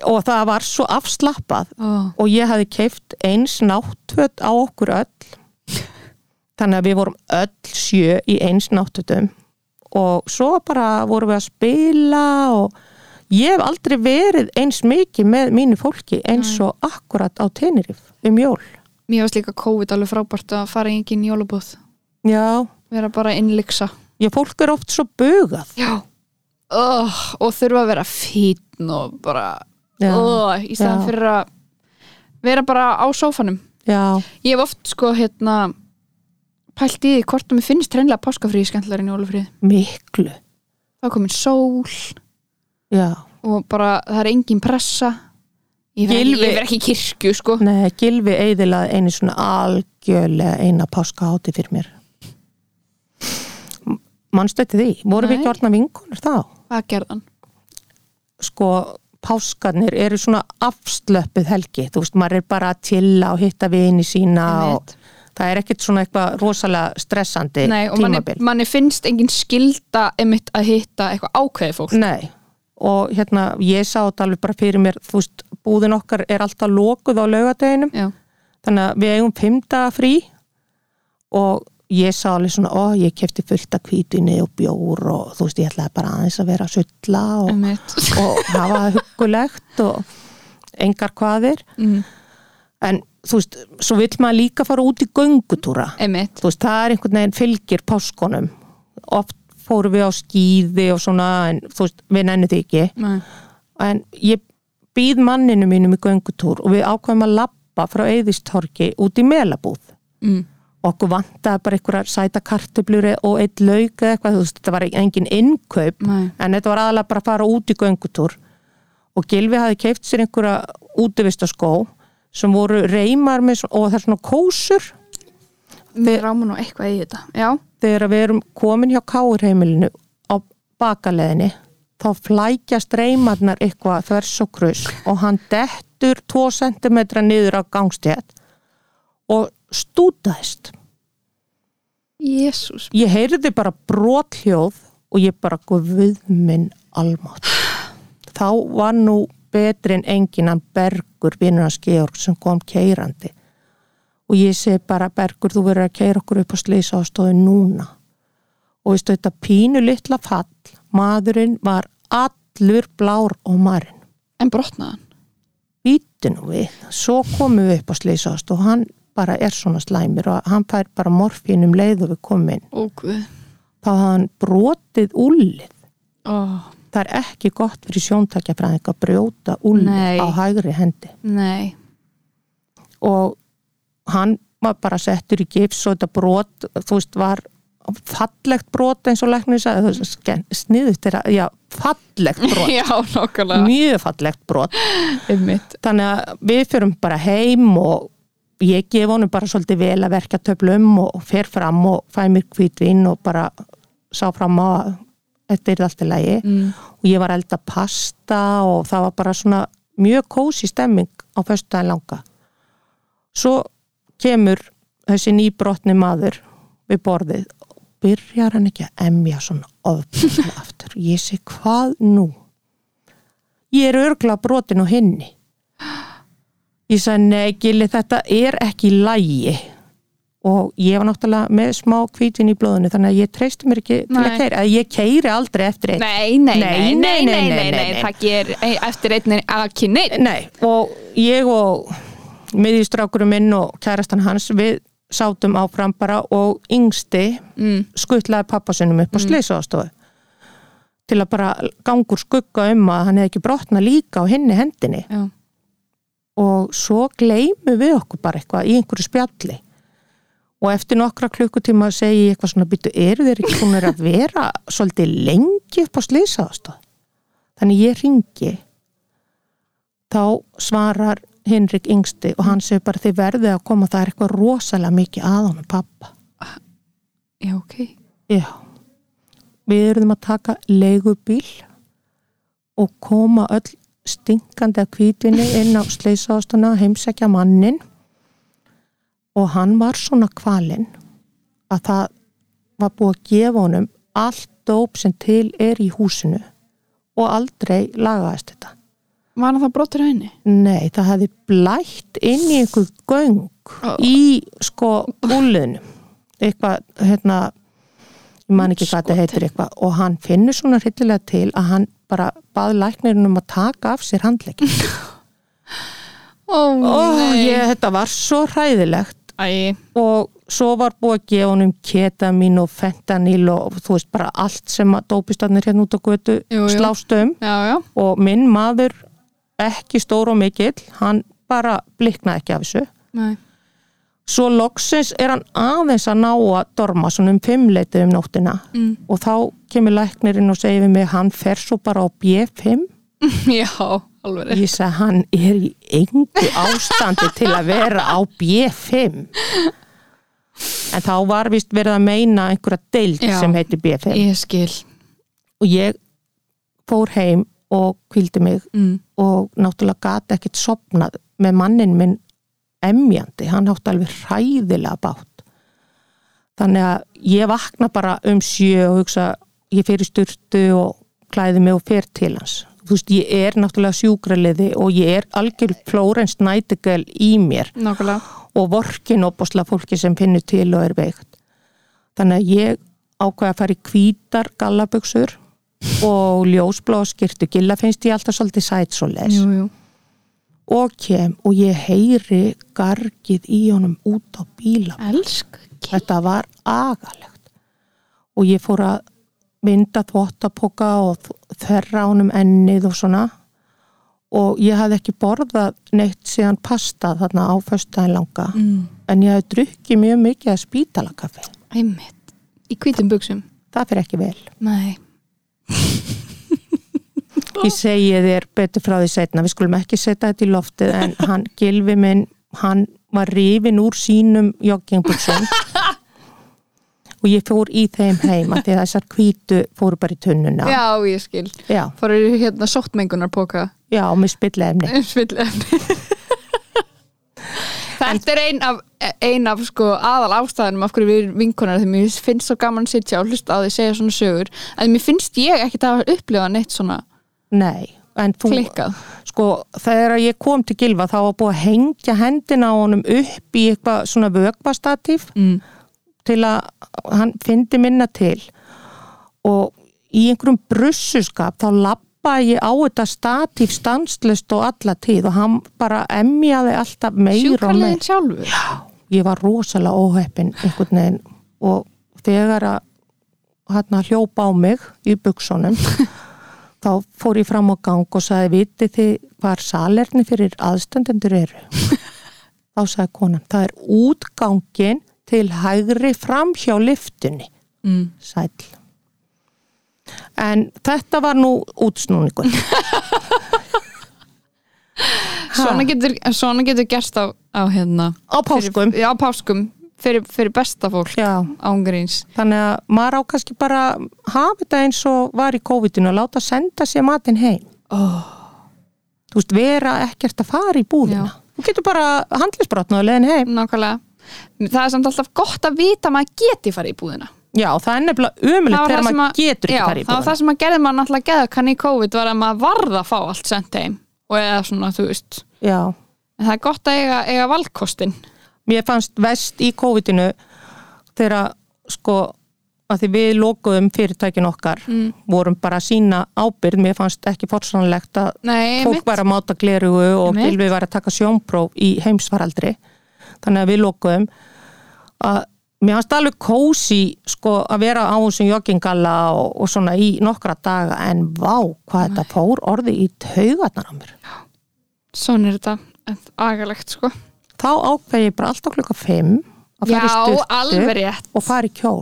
og það var svo afslappað
oh.
og ég hafði keift eins náttföt á okkur öll þannig að við vorum öll sjö í eins náttfötum og svo bara vorum við að spila og ég hef aldrei verið eins mikið með mínu fólki eins og akkurat á Tenerif um jól
mér varst líka COVID alveg frábært að fara í engin jólabúð
já,
vera bara innlyksa
ég fólk er oft svo bugað
já oh, og þurfa að vera fítn og bara
Já.
oh, í staðan
Já.
fyrir að vera bara á sófanum
já,
ég hef oft sko hérna pælt í því hvort að mér finnst reynilega páskafríði skemmtilegar en jólafríði
miklu
þá er komin sól
já,
og bara það er engin pressa ég verð ekki,
Gylfi-
ég fer ekki í kirkju sko
neða, Gilvi eiðilaði einu svona algjörlega eina páskahátti fyrir mér M- manstu eftir því vorum við
Nei.
ekki orðna vinkonur þá?
hvað gerðan?
sko páskarnir eru svona afslöppuð helgi, þú veist, maður er bara að tilla og hitta vini sína
Einmitt.
og það er ekkert svona eitthvað rosalega stressandi
Nei, og manni,
tímabil.
manni finnst engin skilda emitt að hitta eitthvað ákveði fólk
Nei, og hérna ég sá þetta alveg bara fyrir mér, þú veist, búðin okkar er alltaf lokuð á laugadeginum,
já,
þannig að við eigum fimm daga frí og ég sá alveg svona, ó, ég kefti fullt af kvítunni og bjór og þú veist, ég ætlaði bara aðeins að vera að sulla og,
emitt
og hafa það huggulegt og engar hvaðir
mm,
en þú veist, svo vill maður líka fara út í göngutúra
emitt
þú veist, það er einhvern veginn fylgir páskonum oft fórum við á skýði og svona, en þú veist, við nennu því ekki en ég býð manninu mínum í göngutúr og við ákvæmum að lappa frá Eyðistorki út í Melabúð
mm,
okkur vantaði bara einhverjar sæta kartöblur og eitt lauk eða eitthvað, þú veist, þetta var engin innkaup
Nei.
en þetta var aðalega bara að fara út í göngutúr og Gilvi hafði keift sér einhverja útivistaskó sem voru reymar með, svona- og það er svona kósur
mér ráma nú eitthvað í þetta já,
þegar við erum komin hjá káurheimilinu á bakaleðinni þá flækjast reymarnar eitthvað þvers og krus og hann dettur 2 cm niður á gangstétt og stútaðist
jésús
ég heyrði bara brothljóð og ég bara guð minn almátt þá var nú betri en enginn hann Bergur, vinnur hans Georg sem kom keirandi og ég segi bara Bergur, þú verður að keira okkur upp á slýsa og stóði núna og veistu þetta pínu litla fall maðurinn var allur blár og marinn
en brotnaðan
býti nú við, svo komum við upp á slýsaðast og hann bara er svona slæmir og hann fær bara morfínum leið og við komum inn
óguð
þá hafði hann brotið úlið.
oh,
Það er ekki gott fyrir sjóntakjafræðing að brjóta úlið
Nei.
á hægri hendi.
nei,
Og hann var bara settur í gips og þetta brot, þú veist, var fallegt brot eins og læknir sagði, þú veist, sken- sniðugt þeirra, já, fallegt brot,
já, nokkulega
mjög fallegt brot.
emitt
Þannig að við fyrum bara heim og ég gef honum bara svolítið vel að verka töflum og fer fram og fæ mér hvítvinn og bara sá fram á að þetta er allt í lagi.
mm,
og ég var að elda pasta og það var bara svona mjög kósi stemming á föstudaginn langa svo kemur þessi nýbrotni maður við borðið og byrjar hann ekki að emja svona ofnum aftur ég segi hvað nú ég er örgla brotin á henni ég sagði nei gili þetta er ekki lægi og ég var náttúrulega með smá hvítvin í blóðinu þannig að ég treysti mér ekki til
Nei.
að keira ég keiri aldrei eftir eitt
nei, nei, nei, nei, nei, nei,
nei.
það ger e- eftir einni ekki neitt
Nei, og ég og miðjustrákurum minn og kærastan hans við sátum áfram bara og yngsti
mm,
skuttlaði pappasunum upp á mm. til að bara gangur skugga um að hann hefði ekki brotna líka á henni hendinni
já,
og svo gleymum við okkur bara eitthvað í einhverju spjalli og eftir nokkra klukkutíma segi ég eitthvað svona býtu, eru þeir ekki búin að vera svolítið lengi upp á slýsaðastóð þannig ég ringi þá svarar Henrik yngsti og hann segir bara þið verðið að koma, það er eitthvað rosalega mikið að honum pappa
já, ok
Já. Við erum að taka leigubíl og koma öll stinkandi að kvítinni inn á sleisaðastana heimsækja mannin og hann var svona kvalinn að það var búið að gefa honum allt dóp sem til er í húsinu og aldrei lagaðist þetta.
Var hann það brotur á henni?
Nei, það hefði blætt inn í einhver göng í sko úlunum eitthvað, hérna ég man ekki hvað þetta heitir eitthvað og hann finnur svona hryllilega til að hann bara bað læknirinn um að taka af sér handleggi
Ó,
og ég, þetta var svo hræðilegt
Æ,
og svo var búið að gefa honum ketamin og fentanyl og þú veist bara allt sem að dópistarnir hérna út á götu
Jú, jú.
slást um
já, já.
og minn maður ekki stór og mikill, hann bara bliknaði ekki af þessu
Nei.
svo loksins er hann aðeins að ná að dorma svona um fimmleiti um nóttina mm. og þá kemur læknirinn og segir við mig hann fer svo bara á B5
Já, alveg rétt.
ég segi hann er í engu ástandi til að vera á B5 en þá var vist verið að meina einhverja deild
Já.
sem heitir B5
Ég skil.
og ég fór heim og kvildi mig
Mm.
og náttúrulega gati ekkit sopnað með mannin minn emjandi, hann átti alveg hræðilega bátt þannig að ég vakna bara um sjö og hugsa, ég fer í styrtu og klæði mig og fer til hans þú veist, ég er náttúrulega sjúkraliði og ég er algjör Flórens Nætigel í mér
Nákvæmlega.
og vorkin opasla fólki sem finnur til og er veikt þannig að ég ákveða að fara í hvítar gallaböksur og ljósblá skirtu gilla finnst ég alltaf svolítið sætt svo les
Jú, jú.
og kem og ég heyri gargið í honum út á bíla
Elsk.
þetta var agalegt og ég fór að mynda þvottapoka og þerra honum ennið og svona og ég hafði ekki borðað neitt síðan pasta þarna á föstaðin langa
Mm.
en ég hafði drukkið mjög mikið að spítalakaffi
Æmitt. Í hvítum buksum.
það fyrir ekki vel
Nei.
ég segi þér betur frá því setna við skulum ekki setja þetta í loftið en hann gilfi minn, hann var rifin úr sínum joggingbuksum og ég fór í þeim heim að því að þessar hvítu fóru bara í tunnuna
Já, ég skil.
já,
Fóruðu hérna sóttmengunarpoka.
já og mér spilla efni
Svillefni. Þetta er ein af, ein af sko aðal ástæðanum af hverju við erum vinkonar því mér finnst svo gaman að sitja og hlusta á því segja svona sögur að mér finnst ég ekkert að hafa upplifað neitt svona
nei, en þú
klikkað
sko, þegar ég kom til gilfa þá var búið að hengja hendina á honum upp í eitthvað svona vökvastatíf
mm.
til að hann fyndi minna til og í einhverjum brussuskap þá lappa ég á þetta statíf stanslust og alla tíð og hann bara emjaði alltaf meir og meir
Sjúkarlegin sjálfur
ég var rosalega óheppin einhvern veginn og þegar að hann hljópa á mig í buksunum þá fór ég fram á gang og sagði viti þið hvar salerni fyrir aðstandendur eru þá sagði konan það er útgangin til hægri fram hjá liftunni
mm.
sæl en þetta var nú útsnúningur
svona, getur, svona getur gerst á, á hérna
á páskum
fyrir, Já, páskum fyrir, fyrir besta fólk
já
ángríns
Þannig að maður á kannski bara að hafa þetta eins og var í COVID-inu og láta senda sér matinn heim.
oh.
Þú veist, vera ekkert að fara í búðina.
Já.
Þú getur bara handlisbrotnað og leiðin heim.
Nákvæmlega Það er samt alltaf gott að vita að maður geti farið í búðina
Já, það er nefnilega
Það
umulegt
var
þegar
það sem
maður getur
já,
ekki fara í
það var
búðina.
það sem að gerði maður náttúrulega geða kanni í COVID var að maður varð að fá allt sent heim og eða svona, þú veist
Já,
en það er gott að eiga, eiga valkostin
mér fannst vest í COVID-inu þegar að, sko að því við lokuðum fyrirtækin okkar
Mm.
vorum bara að sína ábyrð mér fannst ekki fórsanlegt að
Nei,
fólk
mitt,
var að máta glerugu og
Einmitt.
Gylfi var að taka sjónpróf í heimsfaraldri þannig að við lokuðum að mér fannst alveg kósi sko að vera á þessum joggingalla og, og svona í nokkra daga en vá hvað þetta fór orði í taugarnar á mér
svona er þetta en agalegt sko
þá ákveði ég bara alltaf klukka 5 að
Já,
fara í styrtu
alveg rétt
og fara í kjól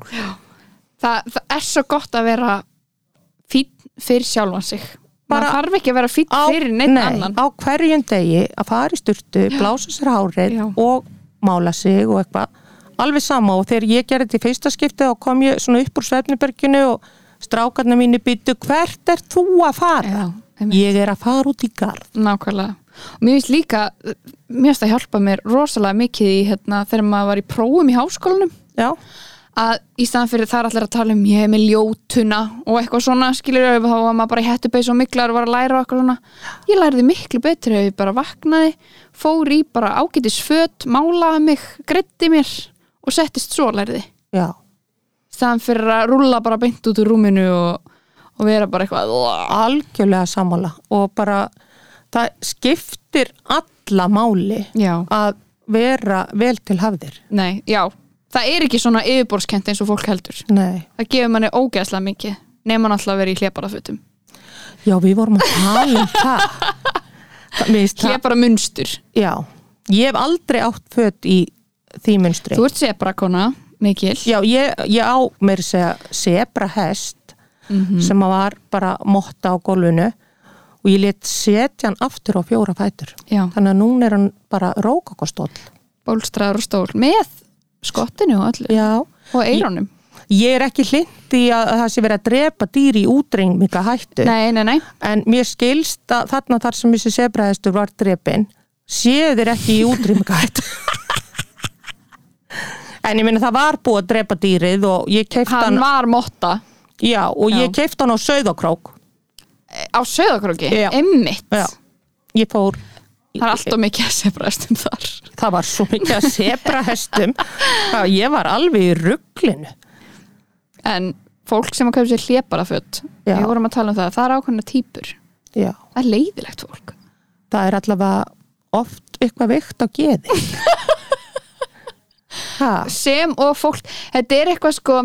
það, það er svo gott að vera fínn fyrir sjálfan sig
Bara
maður þarf ekki að vera fínn
á,
fyrir neitt annan
á hverjum degi að fara í styrtu, blása sér hárið
Já.
og mála sig og eitthvað alveg sama og þegar ég gerði þetta í fyrsta skipti þá kom ég svona upp úr svefniberginu og strákarna mínu býtu hvert er þú að fara?
Já, einmitt.
ég er að fara út í garð.
Nákvæmlega. Og mér finnst líka, mér finnst að hjálpa mér rosalega mikið í hérna þegar maður var í prófum í háskólanum
Já,
að í staðan fyrir þar allir að tala um ég er með ljótuna og eitthvað svona skilur ef þá var maður bara í hettubeis og miklar og var að læra og eitthvað svona. Ég læriði miklu betur ef ég bara vaknaði, fór í bara ágætis föt, málaði mig, greiddi mér og settist svo læriði.
já,
Í staðan fyrir að rúlla bara beint út úr rúminu og, og vera bara eitthvað "Ugh."
algjörlega sammála og bara það skiptir alla máli
Já,
að vera vel til hafðir.
nei, já. Það er ekki svona yfirborskent eins og fólk heldur.
Nei,
það gefur manni ógeðslega mikið nema náttúrulega að vera í hleparafötum
já við vorum að tala um það. það mér finnst það,
hlepara munstur,
já, ég hef aldrei átt föt í því munstri.
þú ert sebrakona mikil,
Já, ég, ég á mér að segja sebra hest sem að var bara motta á gólfinu og ég let setja hann aftur á fjóra fætur.
já,
Þannig að núna er hann bara rókakostóll.
bólstraður og stól með skottinu og öllu
Já,
og eirónum,
ég er ekki hlind í að það sé verið að drepa dýr í útreng mika hættu.
nei, nei, nei
En mér skilst að þarna þar sem þessi sebra hestur var drepin séu þeir ekki í útreng mika hættu. En ég minna það var búið að drepa dýrið og ég keifti
hann
hann,
var motta
já, og ég keifti hann á Sauðakrók.
á söðakróki,
Já.
emmitt
Já, ég fór
það er alltaf mikið að sebrastum þar
það var svo mikið að sepra hestum að ég var alveg í rugglinu
en fólk sem að kaupa sér hleparaföt
Já.
við vorum að tala um það, það er ákveðna típur
já,
það er leiðilegt fólk
það er allavega oft eitthvað veikt á geði ha,
sem og fólk þetta er eitthvað sko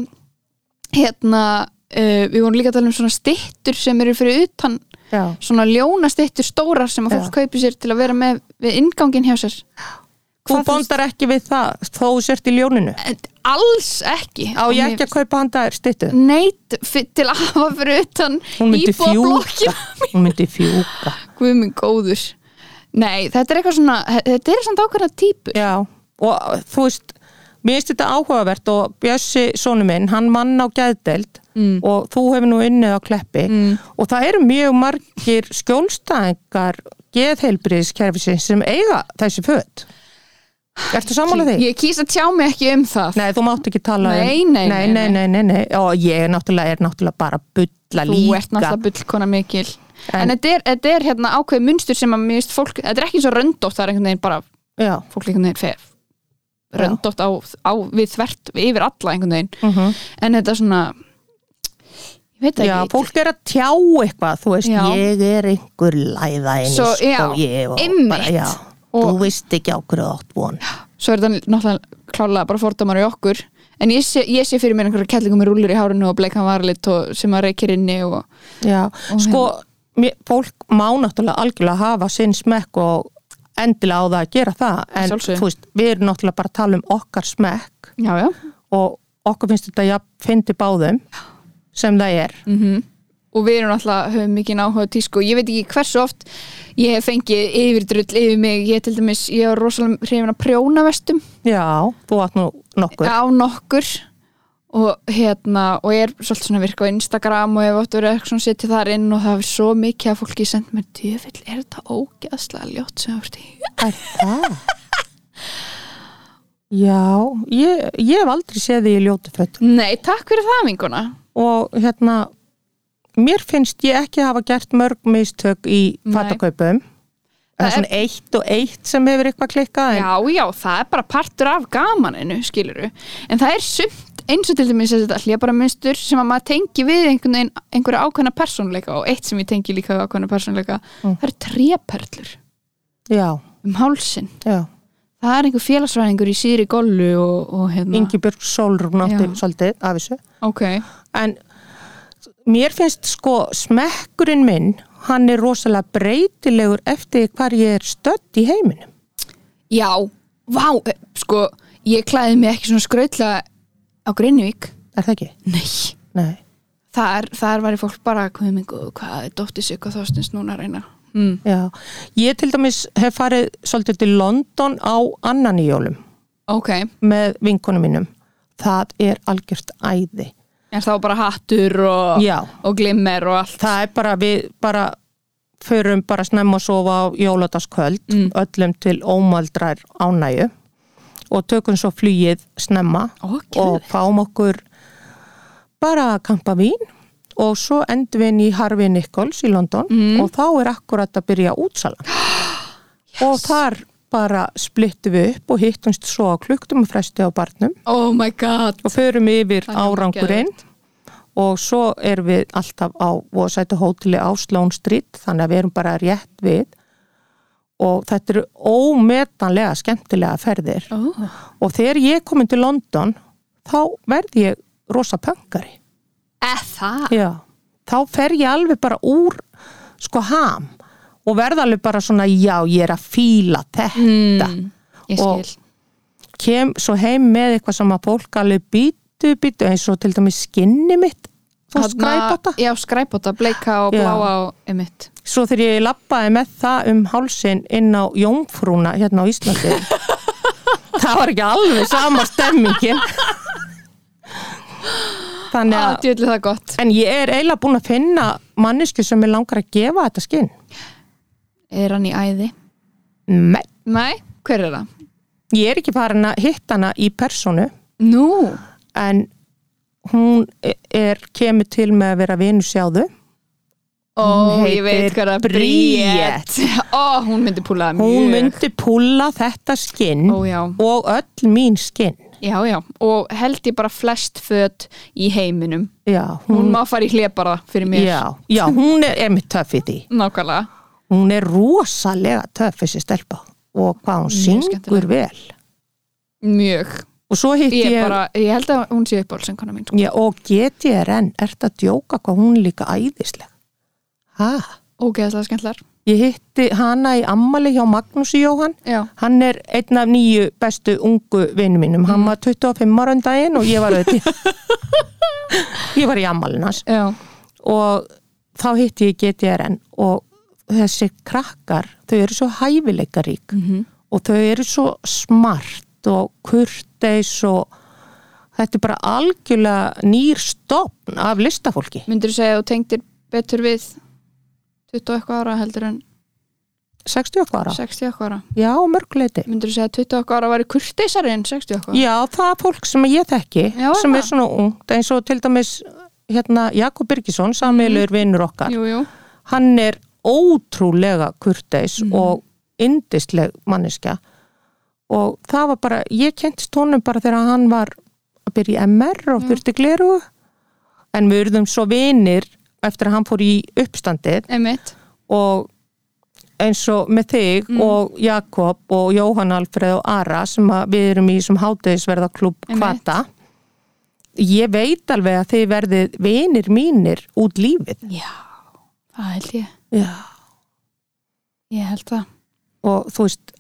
hérna, uh, við vorum líka að tala um svona styttur sem eru fyrir utan
já,
svona ljóna styttur stórar sem að fólk kaupir sér til að vera með við inngangin hjá sér
þú
Hvað
bondar ekki við það þó þú sért í ljóninu
En alls ekki
á ég ekki að kaupa handa þær styttu
neitt fi- til að hafa fyrir utan
hún myndi fjúka
íbúablokkin
hún myndi fjúka
guðminn góður nei, þetta er eitthvað svona þetta er svona ákveðna típur
já, og þú veist mér finnst þetta áhugavert og Bjössi sonu minn, hann mann á geðdeild
Mm.
og þú hefur nú unnið á kleppi
Mm.
og það eru mjög margir skjólstæðingar geðheilbriðiskerfisins sem eiga þessi föt Ertu sammála því?
ég kýsa tjá mig ekki um það
Nei, þú mátt ekki tala
Nei,
um
nei,
nei,
nei,
nei, nei, nei, nei. og ég er náttúrulega, er náttúrulega bara að bulla
þú
líka
ert náttúrulega bullkona mikil en,
En-
þetta, er, þetta er hérna ákveð munstur sem að mér finnst fólk, þetta er ekki eins og röndótt það er einhvern veginn bara,
Já,
fólk einhvern veginn fer röndótt á, á við þvert við yfir alla einhvern veginn
uh
en þetta er svona ég veit það
já,
ekki
fólk er að tjá eitthvað, þú veist,
Já.
ég er einhver læða einu
Svo, já,
og ég og
einmitt.
bara, já,
Og-
þú veist ekki á hverju þú átt von
svo er þetta náttúrulega klálega bara fordamar í okkur en ég sé, ég sé fyrir mér einhverja kellingum með rúlur í hárinu og bleikan varlit og sem að reykir inni og
Já, sko, mér, fólk má náttúrulega algjörlega hafa sinn smekk og endilega á það að gera það en
Sjálfsögðu.
þú veist, við erum náttúrulega bara að tala um okkar smekk
já, já,
og okkur finnst þetta jafn fyndi báðum sem það er
og við erum náttúrulega höfum mikið náhuga á tísku og ég veit ekki hversu oft ég hef fengið yfirdrull yfir mig, ég til dæmis, ég var rosalega hrifin að prjóna vestum
Já, þú átt nú nokkur
á nokkur og hérna, og ég er svolítið svona að virka á Instagram og ég hef átt að vera eitthvað svona setið þar inn og það er svo mikið að fólki sendt mér djöfill, er þetta ógeðslega ljótt sem þú ert í?
Er það? Já, ég, ég hef aldrei séð því í ljótu fötum
Nei, takk fyrir það vinguna
og hérna mér finnst ég ekki hafa gert mörg mistök í
Nei.
fattakaupum það
Það
er svona eitt og eitt sem hefur eitthvað klikkað en
Já, já, það er bara partur af gamaninu, skiluru en það er sumt eins og til dæmis að þetta hljá bara munstur sem að maður tengi við einhvern veginn einhverja ákveðna persónleika og eitt sem ég tengi líka við ákveðna persónleika það eru tréperlur
Já,
um hálsin
já.
það er einhver félagsræðingur í síðri gollu og, og hérna
Ingibjörg Solrún átti
Já.
svolítið af þessu.
ok,
En mér finnst sko smekkurinn minn, hann er rosalega breytilegur eftir hvar ég er stödd í heiminum.
já, vá eh, sko, ég klæði mig ekki svona skrautla á Greinvík
Er það ekki?
nei,
Nei.
þar, þar var ég fólk bara hvað er mingu, hvað er dóttir sig og þástins núna að reyna mm.
Já. Ég til dæmis hef farið svolítið til London á annan í jólum
ok,
með vinkonum mínum. Það er algjört æði.
En þá bara hattur og,
Já.
og glimmer og allt
það er bara við bara förum bara snemma að sofa á jóladaskvöld öllum til ómaldrar ánægju og tökum svo flýið snemma
Ó,
og fáum okkur bara kampa vín og svo endum við inn í Harvey Nichols í London og þá er akkurat að byrja útsalan og þar bara splittum við upp og hittumst svo á kluktum og fresti á barnum
Oh my god
og förum yfir
er
árangurinn og svo erum við alltaf á Vosættu hóteli á Sloan Street þannig að við erum bara rétt við og þetta eru ómetanlega skemmtilega ferðir
oh.
og þegar ég komin til London þá verð ég rosa pöngari
Eða það
Já. þá fer ég alveg bara úr sko ham og verð alveg bara svona já ég er að fíla þetta
Ég
Og-
skil
kem svo heim með eitthvað sem að fólk alveg býtu, býtu eins og til dæmis skinni mitt þú
Þarna-
skræpata
Já, skræpóta, bleika og
Já.
bláa og emitt
svo þegar ég lappaði með það um hálsin inn á jómfrúna hérna á Íslandi það var ekki alveg sama stemmingin þannig
Já,
að
djöðli Ah, það gott
en ég er eiginlega búin að finna mannesku sem er langar að gefa þetta skinn
Er hann í æði?
Nei,
Nei, hver er það?
ég er ekki farin að hitta hana í personu
Nú
en hún e- er kemur til með að vera vinu sjáðu
Ó, ég veit
heitir
hvað það
Bríet.
Ó, hún myndi púlaða mjög
hún myndi púlla þetta skinn
Ó, já.
og öll mín skinn
Já, já, og held ég bara flest föt í heiminum
já,
Hún
hún,
má fara í hlepara fyrir mér
já, já, hún er, er mér töff í því
Nákvæmlega
hún er rosalega töff þessi stelpa og hvað hún syngur
skemmtileg.
vel
Mjög
og svo hitt
Ég,
ég,
bara, ég held að hún sé uppáhaldsengana mín sko.
já, og get ég er enn ert að djóka hvað hún er líka æðisleg ha,
Ógeðslega skemmtlar
ég hitti hana í ammali hjá Magnúsi Jóhann
Já,
Hann er einn af nýju bestu ungu vinnu mínum.
Mm.
Hann var 25 ára um daginn og ég var auðvitað. ég var í ammalinn hans
já,
og þá hitti ég GTRN og þessi krakkar, þau eru svo hæfileikarík
Mhm.
og þau eru svo smart og kurteis og þetta er bara algjörlega nýr stopn af listafólki.
myndir þú segja að þú tengdir betur við 20 og eitthvað ára heldur en
60 okkar ára?
60 og eitthvað ára
Já, mörgleiti.
Myndir þú segja að 20 og eitthvað ára væri kurteisari en 60 og eitthvað
Já, það er fólk sem ég þekki
Já, er
sem
það?
er svona ungt, eins og til dæmis hérna, Jakob Birgisson,
Mhm.
sammeilur vinnur okkar,
Jú, jú,
hann er ótrúlega kurteis og indisleg manneskja og það var bara ég kentist honum bara þegar hann var að byrja í MR og þurfti gleru en við urðum svo vinir eftir að hann fór í uppstandið
emitt
og eins og með þig og Jakob og Jóhann Alfreð og Ara sem að við erum í sem hátegisverða klubb
Einmitt.
kvata ég veit alveg að þið verðið vinir mínir út lífið
Já, það held ég
Já.
Ég held það
og þú veist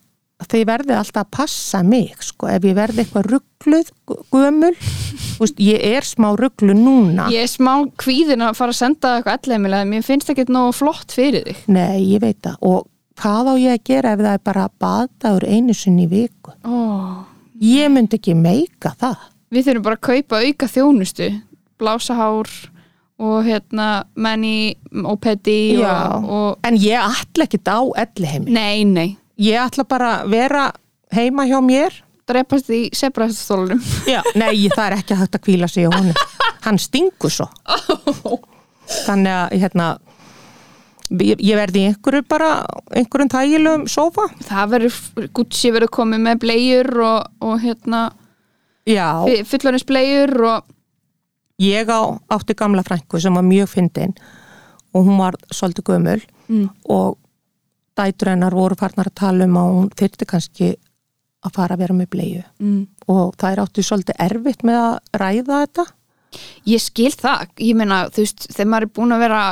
þið verðið alltaf að passa mig sko, ef ég verði eitthvað ruggluð gu- gömul, þú veist, ég er smá rugglu núna,
Ég er smá kvíðin að fara að senda það eitthvað ellemilega Mér finnst ekki nógu flott fyrir þig
nei, ég veit það og hvað á ég að gera ef það er bara baðdagur einu sinni í viku
Ó,
ég myndi ekki meika það
við þurfum bara að kaupa auka þjónustu blása hár og hérna menni og pedi
Já.
og, og
En ég ætla ekkit á elli heimi.
nei, nei,
Ég ætla bara að vera heima hjá mér.
drepast í sebrastólunum
Já. Nei, það er ekki hægt að kvíla sig á honum. Hann stingur svo. Þannig að, hérna, ég, ég verði í einhverju bara, einhverjum þægilegum sófa.
það verður, Gucci verður komið með blegjur og, og hérna
Já,
fullorins blegjur og
ég á átti gamla frænku sem var mjög fyndin og hún var svolítið gömul og dætur hennar voru farnar að tala um að hún þyrfti kannski að fara að vera með bleiðu.
mm.
og þær áttu svolítið erfitt með að ræða þetta
ég skil það, ég meina þú veist, þegar maður er búin að vera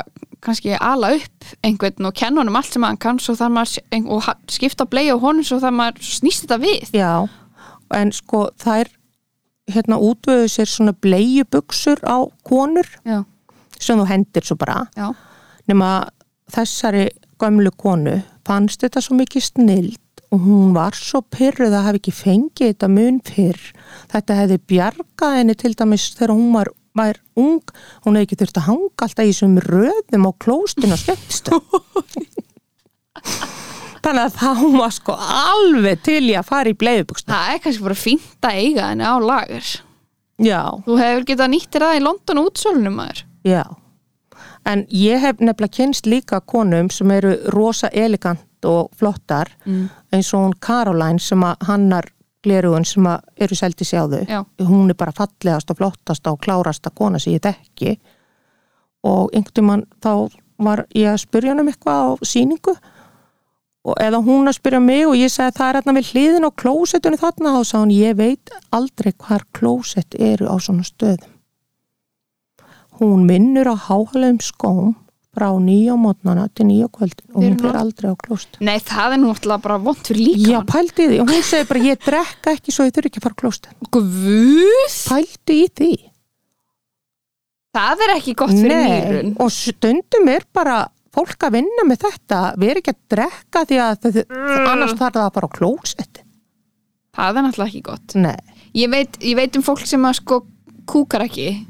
kannski að ala upp einhvern og kenna honum allt sem hann kann svo þar maður, ein- og ha- skipta bleið á honum svo þar maður svo snýst þetta við
já, en sko þær hérna útvöðu sér svona bleiubuxur á konur
já,
sem þú hendir svo bara
já,
nema þessari gömlu konu fannst þetta svo mikið snild og hún var svo pyrruð að hafa ekki fengið þetta mun fyrr þetta hefði bjargað henni til dæmis þegar hún var væri ung, hún hefði ekki þurft að hanga alltaf í þessum röðum á klóstinu og skemmtistu. Þannig að þá var sko alveg til í að fara í bleiðubuksna.
Það er kannski bara fínt að eiga henni á lager.
Já,
Þú hefur getað nýttir það í London útsölunum maður.
já. En ég hef nefnilega kynst líka konum sem eru rosa elegant og flottar eins og hún Caroline sem að hannar glerugun sem að eru seldi sjáðu.
Já.
Hún er bara fallegasta og flottasta og klárasta kona sem ég þekki. og einhvern tímann þá var ég að spyrja hann um eitthvað á sýningu og eða hún að spyrja mig og ég sagði það er hérna við hliðin og klósettunni þarna og sá hann ég veit aldrei hvar klósett eru á svona stöðum hún minnur á háhalegum skóm frá nýja mótnana til nýja kvöldin og
Við
hún
erum
fer
nú-
aldrei á klósett
Nei, það er nú alltaf bara vond fyrir
Já,
líka.
pældi í því og hún segi bara ég drekka ekki svo ég þurfi ekki að fara á klósett
Guð!
pældi í því
Það er ekki gott fyrir nýrun.
og stundum er bara fólk að vinna með þetta við erum ekki að drekka því að þau, annars þarf það að fara á klósett
Það er náttúrulega ekki gott.
Nei,
Ég veit, ég veit um fólk sem að sko kúkar ekki.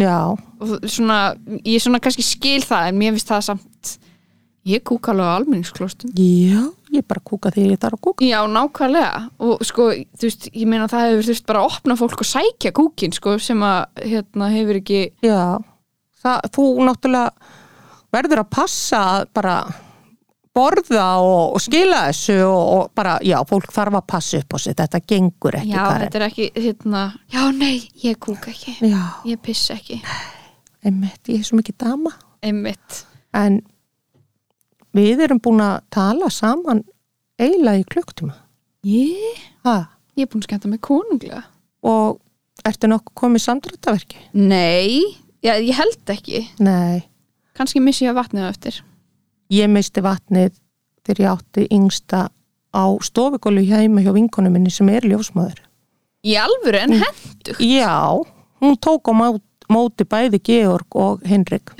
já,
Og svona, ég svona kannski skil það, en mér finnst það samt. Ég kúka alveg á almenningsklostum.
já ég bara kúka því ég þarf að kúka
Já, nákvæmlega. Og sko, þú veist, ég meina það hefur þurft bara að opna fólk og sækja kúkin, sko, sem að hérna hefur ekki...
já, það, þú náttúrulega verður að passa að bara borða og og skila þessu og, og bara, já, fólk þarf að passa upp á sig, þetta gengur ekki
Já,
Karen.
þetta er ekki, hérna... Já, nei, ég kúka ekki.
já,
Ég pissa ekki.
einmitt, ég er svo mikið dama
Einmitt.
en við erum búin að tala saman eiginlega í klukktíma
Ég?
ha,
Ég er búin að skemmta með konunglega.
og ertu nokkuð komið samdrættaverki?
Nei, já, ég held ekki.
Nei,
Kanski missi ég vatnið á eftir.
ég misti vatnið þegar ég átti yngsta á stofugólu heima hjá vinkonu minni sem er ljósmaður.
Í alvöru en hendu.
Já, hún tók á mát- móti bæði Georg og Henrik,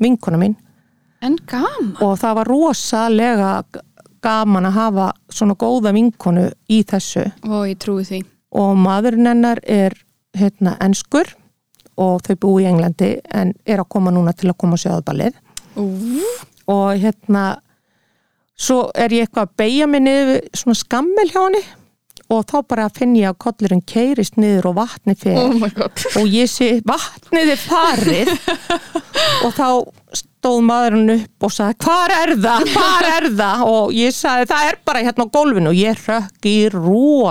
vinkona mín
En gaman.
og það var rosalega g- gaman að hafa svona góða vinkonu í þessu
Ó, ég trúi því.
og maðurinn hennar er hérna enskur og þau búi í Englandi en er að koma núna til að koma á sjöðaballið
Ú,
og hérna svo er ég eitthvað að beigja mig niður svona skammel hjá henni og þá bara finn ég að kollurinn keirist niður og vatni fer
oh my god.
og ég sé vatnið er farið og þá stóð maðurinn upp og sagði hvar er það, hvar er það og ég sagði það er bara hérna á gólfinu og ég hrökk í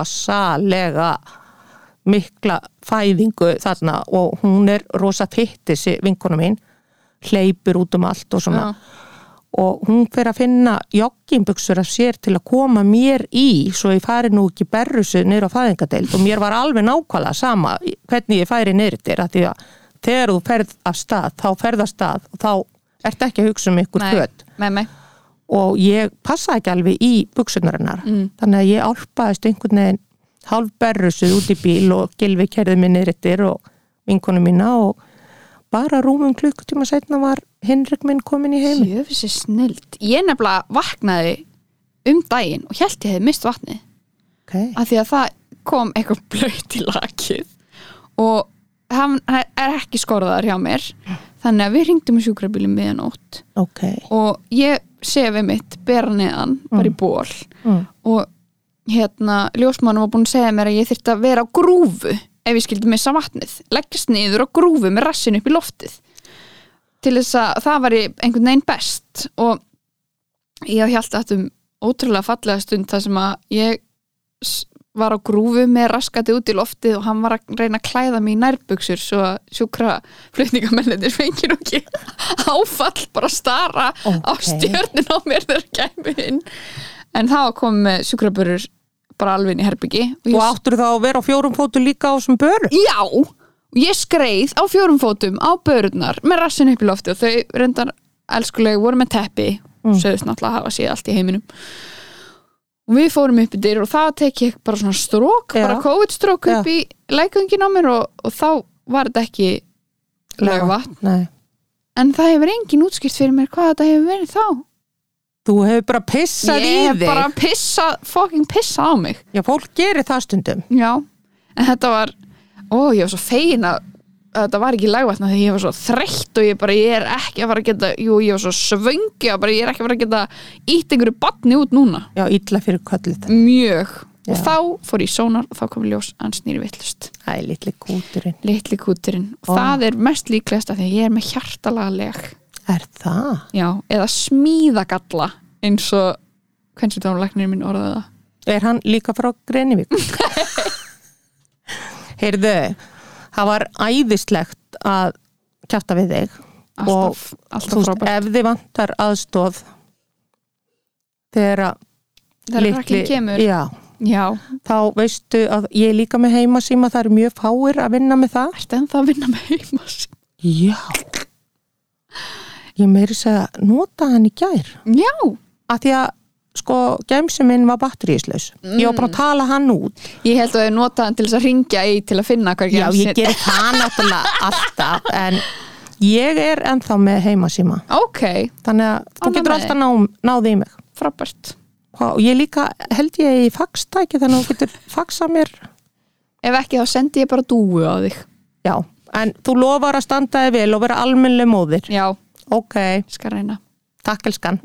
rosalega mikla fæðingu þarna og hún er rosa fyttisi vinkona mín hleypur út um allt og svona
Já.
og hún fer að finna joggingbuksur af sér til að koma mér í svo ég fari nú ekki berrusu niður á fæðingadeild og mér var alveg nákvæmlega sama hvernig ég færi niður til að því að þegar þú ferð af stað þá ferð af stað og þá ert ekki að hugsa um ykkur föt
nei, nei.
og ég passaði ekki alveg í buksunarinnar mm. þannig að ég álpaðist einhvern veginn hálf berrusuð út í bíl og gilvi kerði mig neyrittir og vinkonu mína og bara rúmum klukkutíma setna var Henrik minn komin í heiminn
Jöfis er snild. Ég nefnilega vaknaði um daginn og held ég hefði mist vatnið.
okay.
Af því að það kom eitthvað blöyt í lakið og hann hann er ekki skorðaðar hjá mér. Þannig að við ringdum í sjúkrabílum miðan ótt
ok,
og ég sefi mitt bera neðan, bara í ból
Mm.
og hérna ljósmann var búin að segja mér að ég þyrfti að vera á grúfu ef ég skildi missa vatnið leggjast niður á grúfu með rassin upp í loftið til þess að það var einhvern veginn best og ég held að um ótrúlega fallega stund þar sem að ég s- var á grúfu með raskati út í loftið og hann var að reyna að klæða mig í nærbuksur svo að sjúkra flutningamennir fengir ekki áfall bara að stara á
Ókei.
stjörnin á mér þegar kæmi inn en það kom eh, sjúkrabörur bara alveg inn í herbyggi
og
og ég,
áttur þá að vera á fjórum fótu líka á sem börum
já, og ég skreið á fjórum fótum á börurnar með rassinu upp í lofti og þau reyndar elskulegu voru með teppi mm. sögðust náttúrulega að hafa séð allt í heiminum og við fórum upp í dyr og það tek ég bara svona strók
Já.
bara COVID-strók upp í lækungin á mér og, og þá var þetta ekki lagvatn,
Nei.
en það hefur engin útskýrt fyrir mér hvað þetta hefur verið þá
þú hefur bara pissað
ég
í
hef
þig
bara pissað, fucking pissað á mig
já, fólk gerir það stundum
Já, en þetta var Ó, ég var svo fegin að að þetta var ekki lagvatna því ég var svo þreytt og ég bara, ég er ekki að fara að geta jú, ég var svo svöngi og bara, ég er ekki að fara að geta ítt einhverju batni út núna
Já, illa fyrir köllið það.
mjög,
Já.
og þá fór ég í sónar og þá kom í ljós, hann snýri vittlust
Æ, litli kúturinn.
litli kúturinn, og
Ó.
það er mest líklegast af því að ég er með hjartalaleg
Er það?
já, eða smíðagalla eins og hvernig sem dánulegnir minn orðaði það
Er hann líka frá Grenivík? Heyrðu, það var æðislegt að kjafta við þig
alltaf,
og þú e-
alltaf
veist,
frábært
ef þið vantar aðstóð þegar að
þegar krakkin kemur,
já,
já,
þá veistu að ég er líka með heimasíma það eru mjög fáir að vinna með það
ertu ennþá að vinna með heima
Já Ég meiri segja, nota hann í gær
já,
að því að sko, gæmsi minn var batteríslaus Ég var
Mm.
bara að tala hann út
ég held að ég nota hann til þess að ringja í til að finna hver
Já, ég
gemsinn-
gerir það náttúrulega alltaf en ég er ennþá með heimasíma
ok,
þannig að þú
Ánægð
getur
með
alltaf ná, náði í mig
frábært
og ég líka held ég í faxtæki þannig að þú getur faxað mér
ef ekki þá sendi ég bara dúu á þig
Já, en þú lofar að standa þig vel og vera almennlega móðir
já,
Ok,
skal reyna
takk elskan